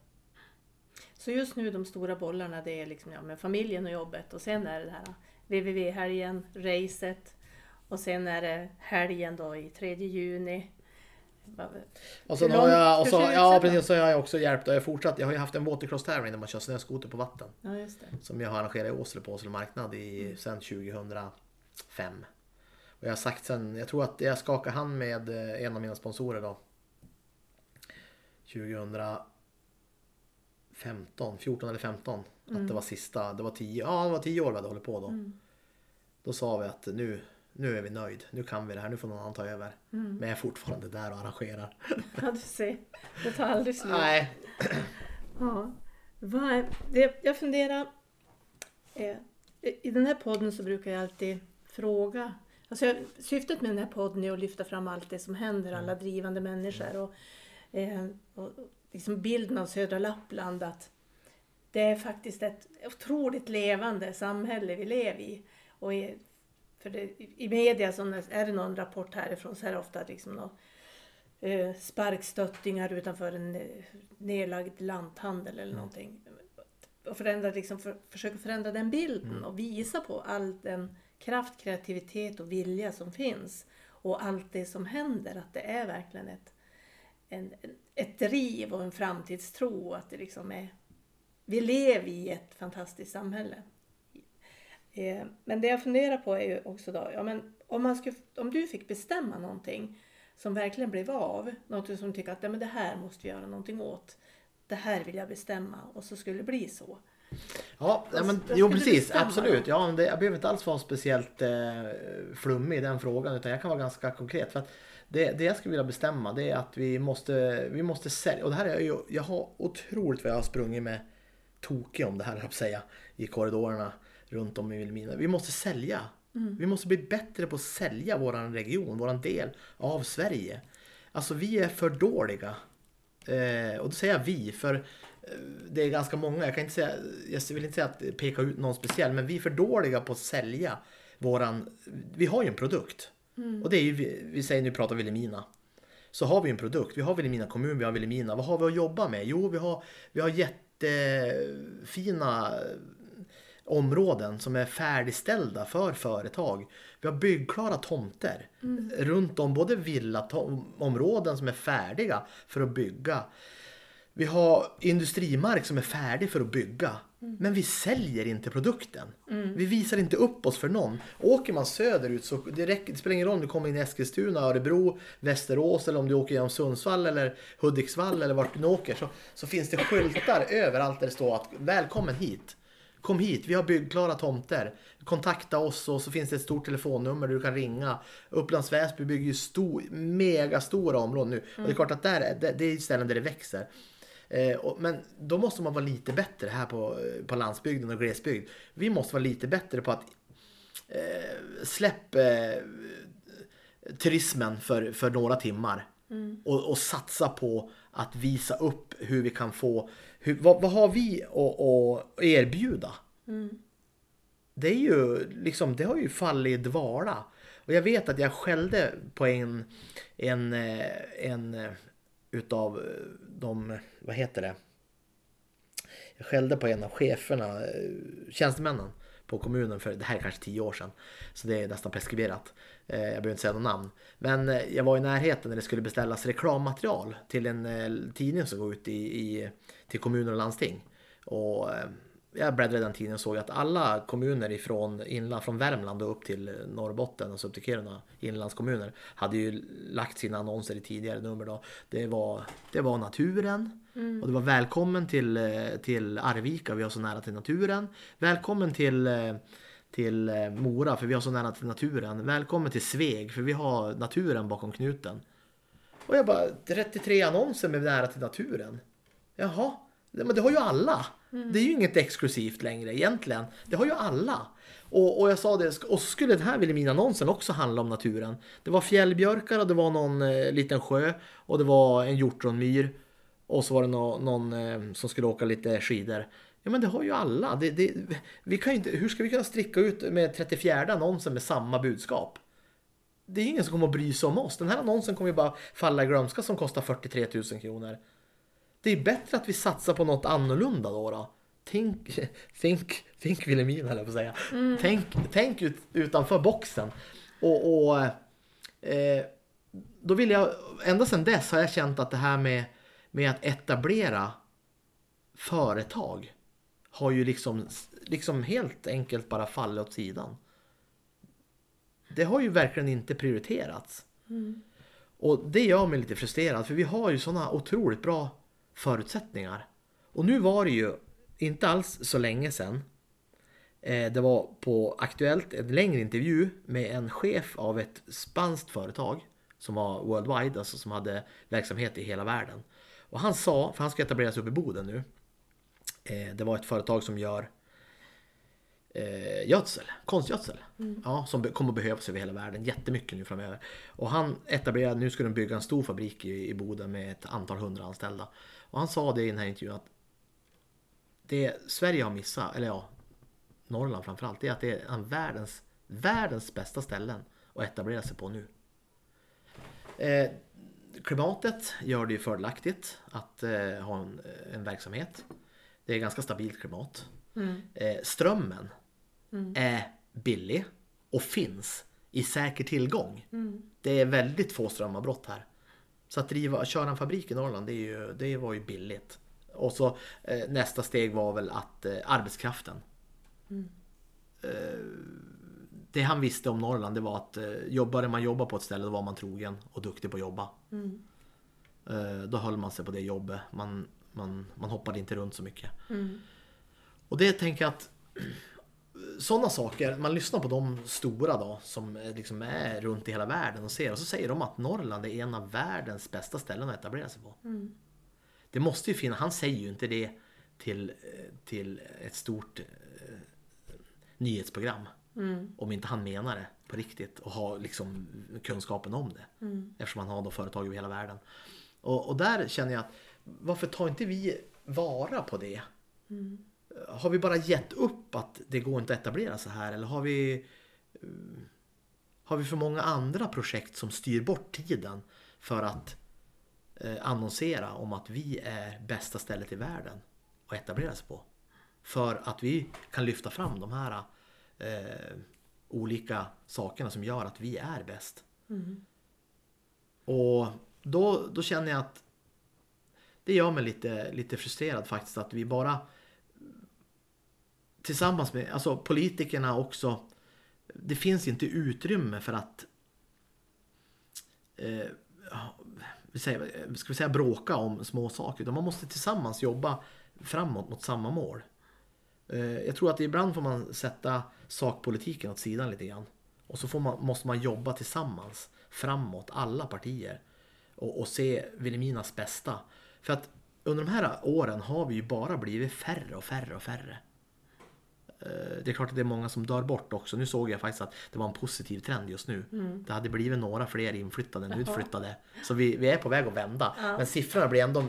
Speaker 1: Så just nu de stora bollarna det är liksom, ja, med familjen och jobbet och sen är det det här äh, VVV-helgen, racet och sen är det helgen då i 3 juni. Vad-
Speaker 2: Och sen
Speaker 1: Hur
Speaker 2: har
Speaker 1: långt-
Speaker 2: jag, och
Speaker 1: hur
Speaker 2: så,
Speaker 1: ser det ut
Speaker 2: ja
Speaker 1: sen då?
Speaker 2: precis, så har jag också hjälpt och jag har fortsatt. Jag har ju haft en watercross-tävling där man kör snöskoter på vatten.
Speaker 1: Ja, just det.
Speaker 2: Som jag har arrangerat i Åsele på Åsele marknad i, sen 2005. Och jag har sagt sen, jag tror att jag skakade hand med eh, en av mina sponsorer då. 2015, 14 eller 15. Att det var sista, det var 10, ja det var 10 år vi hade hållit på
Speaker 1: Mm.
Speaker 2: då. Då sa vi att nu, nu är vi nöjd, nu kan vi det här, nu får någon annan ta över. Men jag är fortfarande där och arrangerar.
Speaker 1: Mm. Ja, du ser. Det tar aldrig slut.
Speaker 2: Nej,
Speaker 1: Ja. Vad, det, jag funderar... Eh, I den här podden så brukar jag alltid fråga... Alltså jag, syftet med den här podden är att lyfta fram allt det som händer, alla drivande människor och, eh, och liksom bilden av södra Lappland att det är faktiskt ett otroligt levande samhälle vi lever i. Och i, för det, I media så när- är det någon rapport härifrån så är det ofta liksom något eh, sparkstöttingar utanför en eh, nedlagd lanthandel eller någonting. Och förändra, liksom, för, försöka förändra den bilden och visa på all den kraft, kreativitet och vilja som finns. Och allt det som händer, att det är verkligen ett, en, en- ett driv och en framtidstro. Och att det liksom är, vi lever i ett fantastiskt samhälle. Eh, Men det jag funderar på är ju också då, ja, men om, man skulle, om du fick bestämma någonting som verkligen blev av, något som du tycker att ja, men det här måste vi göra någonting åt, det här vill jag bestämma och så skulle det bli så.
Speaker 2: Ja, ja
Speaker 1: Fast
Speaker 2: men,
Speaker 1: där
Speaker 2: jo
Speaker 1: skulle det
Speaker 2: precis,
Speaker 1: stämma,
Speaker 2: absolut. Ja, men det, jag behöver inte alls vara speciellt eh, flummig i den frågan utan jag kan vara ganska konkret. För att det, det jag skulle vilja bestämma det är att vi måste, vi måste sälja. Och det här är ju, jag har otroligt vad jag har sprungit med tokig om det här, höll jag på att säga, i korridorerna runt om i Vilhelmina. Vi måste sälja.
Speaker 1: Mm.
Speaker 2: Vi måste bli bättre på att sälja våran region, våran del av Sverige. Alltså vi är för dåliga. Eh, och då säger jag vi, för eh, det är ganska många. Jag, kan inte säga, jag vill inte säga att peka ut någon speciell, men vi är för dåliga på att sälja våran... Vi har ju en produkt. Och det är ju, vi, vi säger nu pratar Vilhelmina. Så har vi en produkt. Vi har Vilhelmina kommun, vi har Vilhelmina. Vad har vi att jobba med? Jo, vi har, vi har jättefina områden som är färdigställda för företag. Vi har byggklara tomter runt om, både villaområden som är färdiga för att bygga. Vi har industrimark som är färdig för att bygga. Men vi säljer inte produkten. Vi visar inte upp oss för någon. Åker man söderut så det, räcker, det spelar ingen roll om du kommer in i Eskilstuna, Örebro, Västerås eller om du åker genom Sundsvall eller Hudiksvall eller vart du nu åker. Så, så finns det skyltar överallt där det står att välkommen hit. Kom hit, vi har byggklara tomter. Kontakta oss och så finns det ett stort telefonnummer där du kan ringa. Upplands Väsby bygger ju stor, megastora områden nu. Och det är klart att där är, det, det är ställen där det växer. Eh, och, men då måste man vara lite bättre här på, eh, på landsbygden och glesbygd. Vi måste vara lite bättre på att eh, släpp eh, turismen för, för några timmar. Och, och satsa på att visa upp hur vi kan få, hur, vad, vad har vi att, att erbjuda?
Speaker 1: Mm,
Speaker 2: Det är ju liksom, det har ju fallit i dvala. Och jag vet att jag skällde på en, en, eh, en eh, utav eh, de, vad heter det? Jag skällde på en av cheferna, eh, tjänstemännen på kommunen för det här är kanske tio år sedan. Så det är nästan preskriberat. Eh, Jag behöver inte säga något namn. Men eh, jag var i närheten när det skulle beställas reklammaterial till en eh, tidning som går ut i, i, till kommuner och landsting. Och eh, jag bläddrade i den tidningen och såg att alla kommuner ifrån, inland, från Värmland och upp till Norrbotten och så upp till Kiruna, inlandskommuner, hade ju lagt sina annonser i tidigare nummer. Då. Det, var, det var naturen. Och det var välkommen till, eh, till Arvika, vi har så nära till naturen. Välkommen till, eh, till eh, Mora, för vi har så nära till naturen. Välkommen till Sveg, för vi har naturen bakom knuten. Och jag bara, 33 annonser med nära till naturen. Jaha, det- men det har ju alla. Det är ju inget exklusivt längre egentligen. Det har ju alla. Och, och jag sa det, och så skulle den här Vilhelmina-annonsen också handla om naturen. Det var fjällbjörkar och det var någon eh, liten sjö och det var en hjortronmyr. Och så var det nå- någon eh, som skulle åka lite skidor. Ja men det har ju alla. Det, det, vi kan ju inte, hur ska vi kunna stricka ut med 34 annonsen med samma budskap? det är ingen som kommer att bry sig om oss. Den här annonsen kommer ju bara falla i glömska som kostar 43 000 kronor. Det är bättre att vi satsar på något annorlunda då. då. Tänk, tänk, tänk Vilhelmina höll jag på att säga. Tänk, tänk ut, utanför boxen. Och, och eh, då vill jag, ända sedan dess har jag känt att det här med, med att etablera företag har ju liksom, liksom helt enkelt bara fallit åt sidan det har ju verkligen inte prioriterats. Och det gör mig lite frustrerad för vi har ju sådana otroligt bra förutsättningar. Och nu var det ju inte alls så länge sedan. Eh, det var på Aktuellt en längre intervju med en chef av ett spanskt företag som var worldwide, alltså som hade verksamhet i hela världen. Och han sa, för han ska etableras upp i Boden nu. Eh, det var ett företag som gör eh, gödsel, konstgödsel. Ja, som be- kommer att behövas över hela världen jättemycket nu framöver. Och han etablerade, nu ska de bygga en stor fabrik i, i Boden med ett antal hundra anställda. Och han sa det i den här intervjun att det Sverige har missat, eller ja, Norrland framförallt, det är att det är en av världens, världens bästa ställen att etablera sig på nu. Eh, klimatet gör det ju fördelaktigt att eh, ha en, en verksamhet. Det är ganska stabilt klimat. Eh, strömmen är billig och finns i säker tillgång. Det är väldigt få strömavbrott här. Så att driva, köra en fabrik i Norrland, det, är ju, det var ju billigt. Och så eh, nästa steg var väl att eh, arbetskraften. Eh, det han visste om Norrland det var att eh, jobbade man jobba på ett ställe då var man trogen och duktig på att jobba. Eh, då höll man sig på det jobbet. Man, man, man hoppade inte runt så mycket.
Speaker 1: mm,
Speaker 2: Och det tänker jag att eh, sådana saker, man lyssnar på de stora då som eh, liksom är runt i hela världen och ser och så säger de att Norrland är en av världens bästa ställen att etablera sig på.
Speaker 1: mm,
Speaker 2: Det måste ju finnas, han säger ju inte det till, eh, till ett stort eh, nyhetsprogram
Speaker 1: mm,
Speaker 2: om inte han menar det på riktigt och har liksom kunskapen om det.
Speaker 1: mm,
Speaker 2: Eftersom han har då företag över hela världen. Och, och där känner jag att varför tar inte vi vara på det? Har vi bara gett upp att det går inte att etablera så här? Eller har vi, eh, har vi för många andra projekt som styr bort tiden för att eh, annonsera om att vi är bästa stället i världen att etablera sig på? För att vi kan lyfta fram de här eh, olika sakerna som gör att vi är bäst.
Speaker 1: mm,
Speaker 2: Och då, då känner jag att det gör mig lite, lite frustrerad faktiskt att vi bara tillsammans med alltså politikerna också. Det finns inte utrymme för att eh, vi säger- ska vi eh, säga bråka om små saker. Utan man måste tillsammans jobba framåt mot samma mål. Eh, Jag tror att ibland får man sätta sakpolitiken åt sidan lite grann. Och så får man, måste man jobba tillsammans framåt, alla partier. Och, och se Vilhelminas bästa. För att under de här åren har vi ju bara blivit färre och färre och färre. Eh, Det är klart att det är många som dör bort också. Nu såg jag faktiskt att det var en positiv trend just nu. Det hade blivit några fler inflyttade än utflyttade. Så vi, vi är på väg att vända. Men siffrorna blir ändå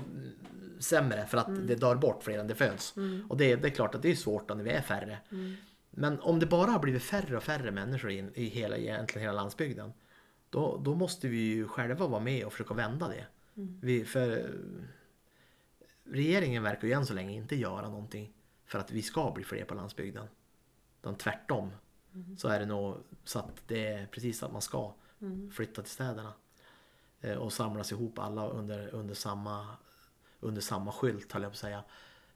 Speaker 2: sämre för att det dör bort fler än det föds. Och det, det är klart att det är svårt då när vi är färre. Men om det bara har blivit färre och färre människor i, i hela, egentligen hela landsbygden. Då, då måste vi ju själva vara med och försöka vända det. Vi, för regeringen verkar ju än så länge inte göra någonting för att vi ska bli fler på landsbygden. Utan tvärtom så är det nog så att det är precis att man ska flytta till städerna. Eh, Och samlas ihop alla under, under, samma, under samma skylt höll jag på att säga.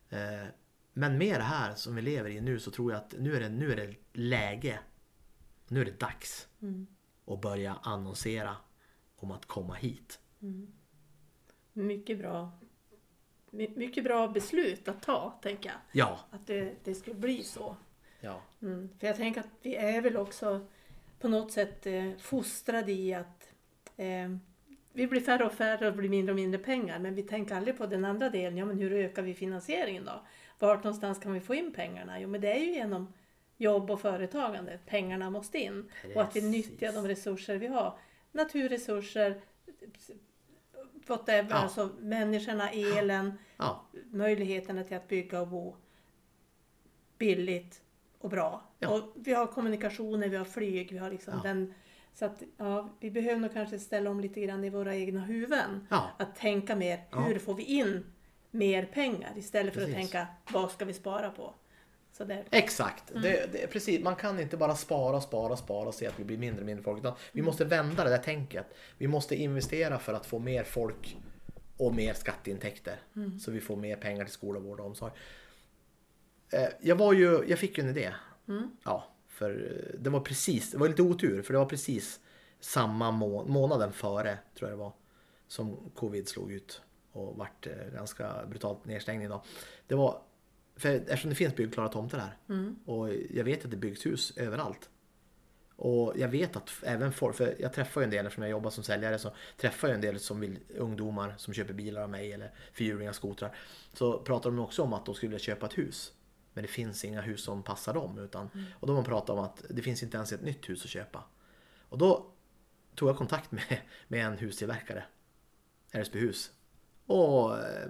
Speaker 2: Eh, Men med det här som vi lever i nu så tror jag att nu är det, nu är det läge. Nu är det dags
Speaker 1: mm.
Speaker 2: att börja annonsera om att komma hit.
Speaker 1: Mycket bra. My- Mycket bra beslut att ta, tänker jag.
Speaker 2: Ja,
Speaker 1: Att det, det skulle bli så.
Speaker 2: ja,
Speaker 1: Mm. För jag tänker att vi är väl också på något sätt eh, fostrade i att eh, vi blir färre och färre och blir mindre och mindre pengar. Men vi tänker aldrig på den andra delen. Ja, men hur ökar vi finansieringen då? Vart någonstans kan vi få in pengarna? Jo, men det är ju genom jobb och företagande. Pengarna måste in. Och att vi
Speaker 2: Precis.
Speaker 1: nyttjar de resurser vi har. Naturresurser, eh, whatever,
Speaker 2: Ja.
Speaker 1: alltså människorna, elen
Speaker 2: ja,
Speaker 1: möjligheterna till att bygga och bo billigt och bra.
Speaker 2: Ja.
Speaker 1: Och vi har kommunikationer, vi har flyg, vi har liksom
Speaker 2: Ja.
Speaker 1: den... Så att ja, vi behöver nog kanske ställa om lite grann i våra egna huvuden.
Speaker 2: ja,
Speaker 1: Att tänka mer,
Speaker 2: Ja.
Speaker 1: hur får vi in mer pengar? Istället för att
Speaker 2: Precis.
Speaker 1: tänka, vad ska vi spara på? Så där.
Speaker 2: exakt. Det, det, är precis. Man kan inte bara spara, spara, spara och se att vi blir mindre och mindre folk. Utan vi måste vända det där tänket. Vi måste investera för att få mer folk och mer skatteintäkter. Så vi får mer pengar till skola, vård och omsorg. Eh, Jag, var ju, jag fick ju en idé. Ja, för eh, det var precis, det var lite otur för det var precis samma må- månaden före, tror jag det var, som covid slog ut och vart eh, ganska brutalt nedstängning då. Det var, för eftersom det finns byggklara tomter här och jag vet att det byggs hus överallt. Och jag vet att även folk, för jag träffar ju en del eftersom jag jobbar som säljare så träffar jag en del som vill, ungdomar som köper bilar av mig eller fyrhjulingar, skotrar. Så pratar de också om att de skulle vilja köpa ett hus. Men det finns inga hus som passar dem. Utan, och då har man pratat om att det finns inte ens ett nytt hus att köpa. Och då tog jag kontakt med, med en hustillverkare, RSB Hus. Och eh,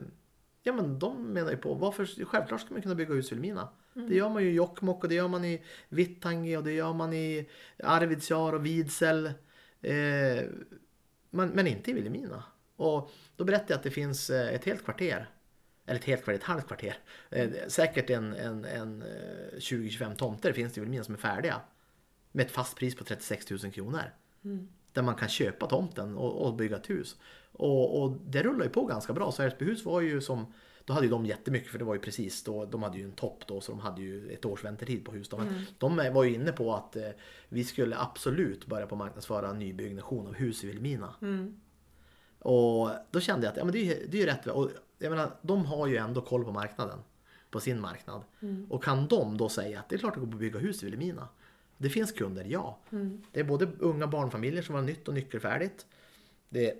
Speaker 2: ja, men de menar ju på, varför, självklart ska man kunna bygga hus i Vilhelmina. Det gör man ju i Jokkmokk och det gör man i Vittangi och det gör man i Arvidsjaur och Vidsel. Eh, men, men inte i Vilhelmina. Och då berättade jag att det finns eh, ett helt kvarter, eller ett helt kvarter, ett halvt kvarter, eh, säkert en, en, en eh, 20-25 tomter finns det i Vilhelmina som är färdiga. Med ett fast pris på 36 000 kronor. Där man kan köpa tomten och, och bygga ett hus. Och, och det rullar ju på ganska bra. Så Älvsbyhus var ju som, då hade ju de jättemycket för det var ju precis då, de hade ju en topp då så de hade ju ett års väntetid på hus. Då. Men de var ju inne på att eh, vi skulle absolut börja på marknadsföra nybyggnation av hus i Vilhelmina. Och då kände jag att ja, men det, är, ju- det är ju rätt. Och jag menar, de har ju ändå koll på marknaden. På sin marknad. Och kan de då säga att det är klart det går att bygga hus i Vilhelmina. Det finns kunder, ja. Det är både unga barnfamiljer som har nytt och nyckelfärdigt. Det är,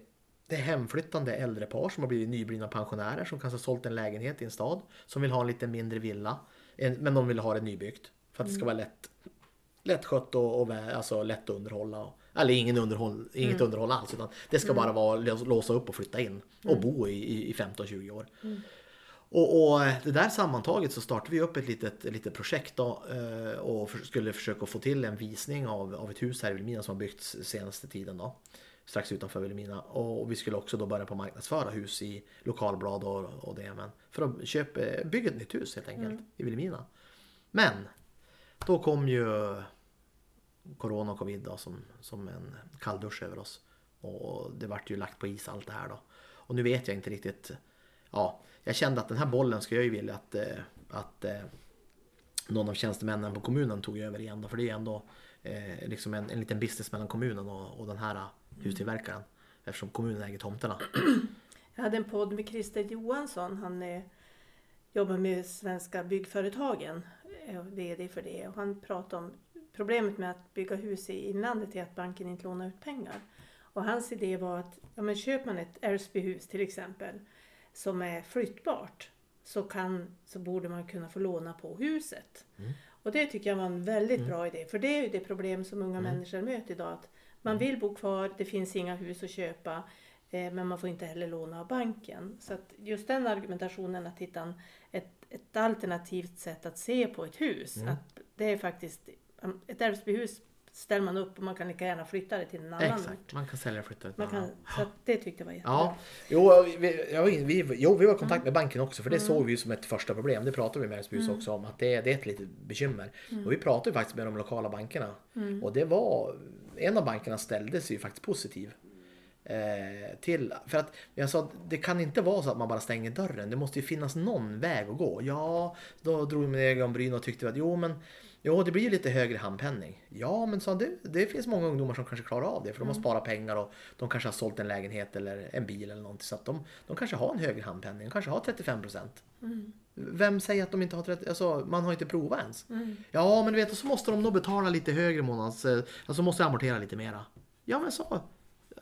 Speaker 2: det är hemflyttande äldre par som har blivit nyblivna pensionärer som kanske har sålt en lägenhet i en stad. Som vill ha en lite mindre villa. en- Men de vill ha det nybyggt. För att det ska vara lätt lättskött och, och vä- alltså, lätt att underhålla. Och, eller ingen underhåll, inget underhåll alls. Utan det ska bara vara lå- låsa upp och flytta in och bo i, i, i 15-20 år. Och, och det där sammantaget så startade vi upp ett litet, ett litet projekt då, eh, och för, skulle försöka få till en visning av, av ett hus här i Vilhelmina som har byggts senaste tiden. Då, strax utanför Vilhelmina. Och, och vi skulle också då börja på marknadsföra hus i lokalblad och, och det. Men, för att köpa, bygga ett nytt hus helt enkelt i Vilhelmina. Men då kom ju Corona och Covid då, som, som en kalldusch över oss. Och det vart ju lagt på is allt det här då. Och nu vet jag inte riktigt. Ja, jag kände att den här bollen skulle jag ju vilja att, eh, att eh, någon av tjänstemännen på kommunen tog över igen. Då, för det är ändå eh, liksom en, en liten business mellan kommunen och, och den här eh, hustillverkaren. Eftersom kommunen äger tomterna.
Speaker 1: Jag hade en podd med Christer Johansson. Han eh, jobbar med svenska byggföretagen. är VD för det och han pratade om problemet med att bygga hus i inlandet är att banken inte lånar ut pengar. Och hans idé var att ja, men köper man ett Älvsbyhus till exempel som är flyttbart så, kan, så borde man kunna få låna på huset.
Speaker 2: Mm.
Speaker 1: Och det tycker jag var en väldigt
Speaker 2: Mm.
Speaker 1: bra idé för det är ju det problem som unga
Speaker 2: Mm.
Speaker 1: människor möter idag. Att man vill bo kvar, det finns inga hus att köpa eh, men man får inte heller låna av banken. Så att just den argumentationen att hitta en, ett, ett alternativt sätt att se på ett hus.
Speaker 2: Mm.
Speaker 1: Att det är faktiskt, um, ett Älvsbyhus ställer man upp och man kan lika gärna flytta det till en annan
Speaker 2: Exakt,
Speaker 1: ort.
Speaker 2: man kan sälja och flytta ut
Speaker 1: Man kan, så att det tyckte jag var jättebra.
Speaker 2: Ja, jo vi, ja, vi, vi, jo, vi var i kontakt med banken också för det såg vi ju som ett första problem. Det pratade vi med Älvsbyhus också om att det, det är ett litet bekymmer. Och vi pratade ju faktiskt med de lokala bankerna och det var en av bankerna ställde sig ju faktiskt positiv. Eh, till, för att jag sa att det kan inte vara så att man bara stänger dörren. Det måste ju finnas någon väg att gå. Ja, då drog min ögonbryn och tyckte att jo men Jo, det blir ju lite högre handpenning. Ja, men så det, det finns många ungdomar som kanske klarar av det för de har sparat pengar och de kanske har sålt en lägenhet eller en bil eller någonting. Så att de, de kanske har en högre handpenning, de kanske har 35 procent. Vem säger att de inte har 30? Alltså, man har inte provat ens. Ja, men du vet, och så måste de då betala lite högre månads... eh, Alltså måste amortera lite mera. Ja, men så.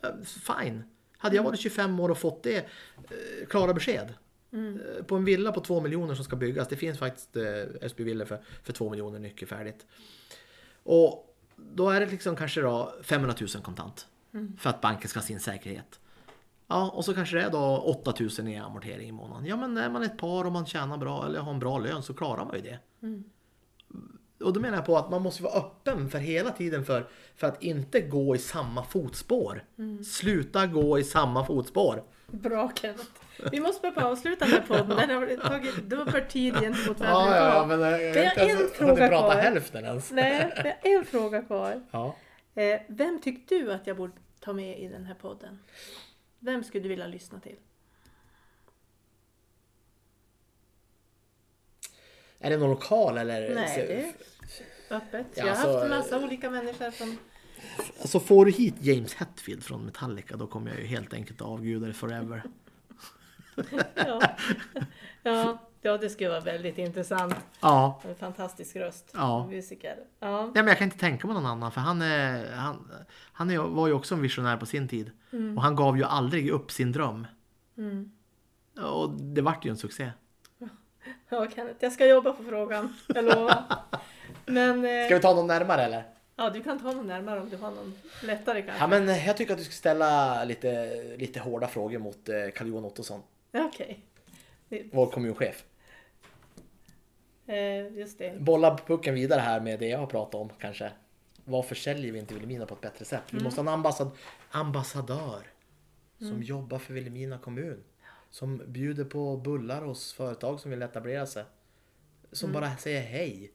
Speaker 2: eh, Fine. Hade jag varit 25 år och fått det eh, klara besked. Eh, På en villa på 2 miljoner som ska byggas. Det finns faktiskt eh, SB-villor för, för 2 miljoner nyckelfärdigt. Och då är det liksom kanske då 500 000 kontant. För att banken ska ha sin säkerhet. Ja, och så kanske det är då 8000 i amortering i månaden. Ja, men är man ett par och man tjänar bra eller har en bra lön så klarar man ju det.
Speaker 1: Mm.
Speaker 2: Och då menar jag på att man måste vara öppen för hela tiden för, för att inte gå i samma fotspår.
Speaker 1: Mm.
Speaker 2: Sluta gå i samma fotspår.
Speaker 1: Bra Kenneth! Vi måste börja på att avsluta den här podden. Den har tagit dubbel tid gentemot vad eh, jag
Speaker 2: Ja,
Speaker 1: brukar
Speaker 2: ja,
Speaker 1: ha.
Speaker 2: ja, men jag,
Speaker 1: Vi har
Speaker 2: jag har inte
Speaker 1: en
Speaker 2: ens
Speaker 1: fråga
Speaker 2: hunnit prata
Speaker 1: kvar.
Speaker 2: hälften ens.
Speaker 1: Nej, vi har en fråga kvar.
Speaker 2: Ja.
Speaker 1: Eh, vem tyckte du att jag borde ta med i den här podden? Vem skulle du vilja lyssna till?
Speaker 2: Är det någon lokal eller?
Speaker 1: Nej, det är öppet.
Speaker 2: Ja,
Speaker 1: jag har haft
Speaker 2: Eh, alltså,
Speaker 1: en massa olika människor som...
Speaker 2: Alltså får du hit James Hetfield från Metallica då kommer jag ju helt enkelt avguda dig forever.
Speaker 1: Ja, ja, ja det skulle vara väldigt intressant.
Speaker 2: Ja.
Speaker 1: En fantastisk röst.
Speaker 2: Ja.
Speaker 1: och Musiker. Ja.
Speaker 2: Nej, men jag kan inte tänka mig någon annan för han, är, han, han är, var ju också en visionär på sin tid. Och han gav ju aldrig upp sin dröm.
Speaker 1: Mm.
Speaker 2: Och det vart ju en succé.
Speaker 1: ja, Kenneth. Jag ska jobba på frågan. Jag lovar. Men... eh,
Speaker 2: Ska vi ta någon närmare eller?
Speaker 1: Ja, du kan ta någon närmare om du har någon lättare kanske.
Speaker 2: Ja, men jag tycker att du ska ställa lite, lite hårda frågor mot eh, Carl-Johan Ottosson,
Speaker 1: Okej.
Speaker 2: vår kommunchef.
Speaker 1: Eh, just det.
Speaker 2: Bolla pucken vidare här med det jag har pratat om kanske. Varför säljer vi inte Vilhelmina på ett bättre sätt? Vi måste ha en ambassad- ambassadör som jobbar för Vilhelmina kommun. Som bjuder på bullar hos företag som vill etablera sig. Som bara säger hej.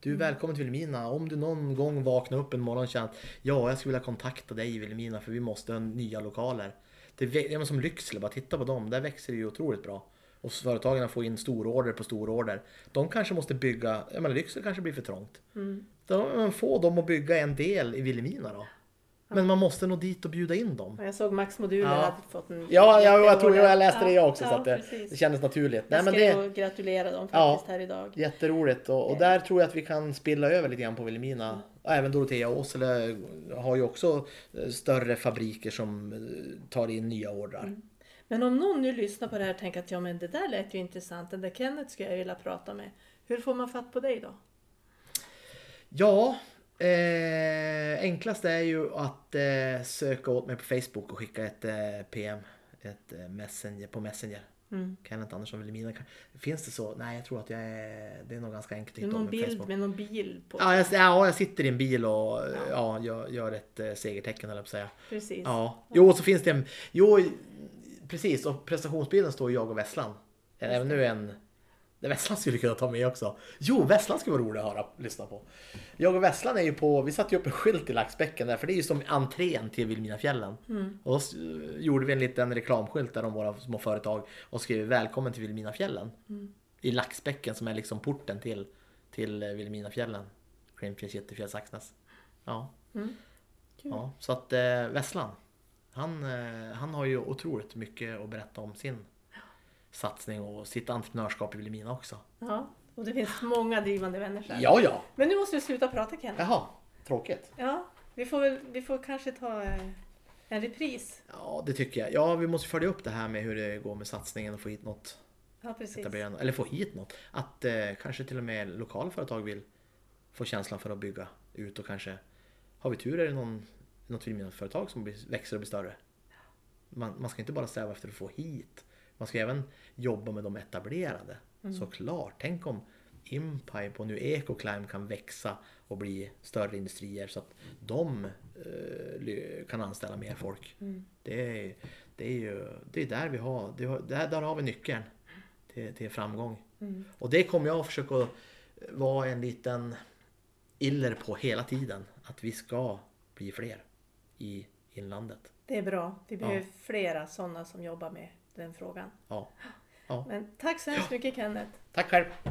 Speaker 2: Du är välkommen till Vilhelmina. Om du någon gång vaknar upp en morgon och känner att ja, jag skulle vilja kontakta dig i Vilhelmina för vi måste ha nya lokaler. Det vä- ja, men som Lycksele, bara titta på dem. Där växer det ju otroligt bra. Och företagen får in stororder på stororder. De kanske måste bygga, jag menar Lycksele kanske blir för trångt. Då, men få dem att bygga en del i Vilhelmina då. Men man måste nå dit och bjuda in dem.
Speaker 1: Och Jag såg Max Moduler
Speaker 2: Ja.
Speaker 1: hade fått en
Speaker 2: Ja, jag, jag
Speaker 1: jättehård-
Speaker 2: tror jag läste det jag också
Speaker 1: ja,
Speaker 2: så att det,
Speaker 1: precis.
Speaker 2: det kändes naturligt. Nej,
Speaker 1: jag
Speaker 2: men
Speaker 1: ska
Speaker 2: det,
Speaker 1: ju gratulera dem
Speaker 2: Ja.
Speaker 1: faktiskt här idag.
Speaker 2: Jätteroligt och, och där tror jag att vi kan spilla över lite grann på Vilhelmina. Och Även Dorotea och Åsele har ju också eh, större fabriker som eh, tar in nya ordrar.
Speaker 1: Men om någon nu lyssnar på det här och tänker att ja men det där lät ju intressant, den där Kenneth skulle jag vilja prata med. Hur får man fatt på dig då?
Speaker 2: Ja, eh, enklast är ju att eh, söka åt mig på Facebook och skicka ett eh, PM ett, eh, messenger, på Messenger.
Speaker 1: Mm.
Speaker 2: Kenneth Andersson Vilhelmina. kan- Finns det så? Nej, jag tror att jag är, det är nog ganska enkelt att hitta
Speaker 1: Någon
Speaker 2: mig på
Speaker 1: bild
Speaker 2: Facebook.
Speaker 1: med någon bil på?
Speaker 2: Ja jag, ja, jag sitter i en bil och eh, ja, gör, gör ett eh, segertecken, höll jag på att säga.
Speaker 1: Precis.
Speaker 2: Ja, jo så finns det en... Jo, precis. Och prestationsbilden står ju jag och Vesslan. Även nu en... det Vesslan skulle kunna ta med också. Jo, Vesslan skulle vara rolig att höra, lyssna på. Jag och Vesslan är ju på... Vi satte ju upp en skylt i Laxbäcken där, för det är ju som entrén till Vilhelminafjällen.
Speaker 1: Mm.
Speaker 2: Och då s- gjorde vi en liten reklamskylt där om våra små företag och skrev välkommen till Vilhelminafjällen. I Laxbäcken som är liksom porten till, till eh, Vilhelminafjällen. Klimpfjäll, Kittelfjäll, Saxnäs. Ja. Ja, så att eh, Vesslan, han, eh, han har ju otroligt mycket att berätta om sin satsning och sitt entreprenörskap i Vilhelmina också.
Speaker 1: Ja, Och det finns många drivande människor.
Speaker 2: Ja, ja.
Speaker 1: Men nu måste vi sluta prata Kent.
Speaker 2: Jaha, tråkigt.
Speaker 1: Ja, vi får, väl, vi får kanske ta eh, en repris.
Speaker 2: Ja, det tycker jag. Ja, vi måste följa upp det här med hur det går med satsningen och få hit något
Speaker 1: Ja, precis.
Speaker 2: etablerande. Eller få hit något. Att eh, kanske till och med lokala företag vill få känslan för att bygga ut och kanske har vi tur är det någon, något filmföretag som blir, växer och blir större. Man, man ska inte bara sträva efter att få hit. Man ska även jobba med de etablerade. Såklart. Tänk om Impipe och nu Ecoclimb kan växa och bli större industrier så att de eh, ly- kan anställa mer folk. Det, är, det är ju det är där vi har, det, har- där, där har vi nyckeln till, till framgång. Och det kommer jag att försöka vara en liten iller på hela tiden. Att vi ska bli fler i inlandet.
Speaker 1: Det är bra. Vi behöver flera sådana som jobbar med den frågan.
Speaker 2: Ja. Ja.
Speaker 1: Men tack så hemskt mycket Kenneth.
Speaker 2: Tack själv!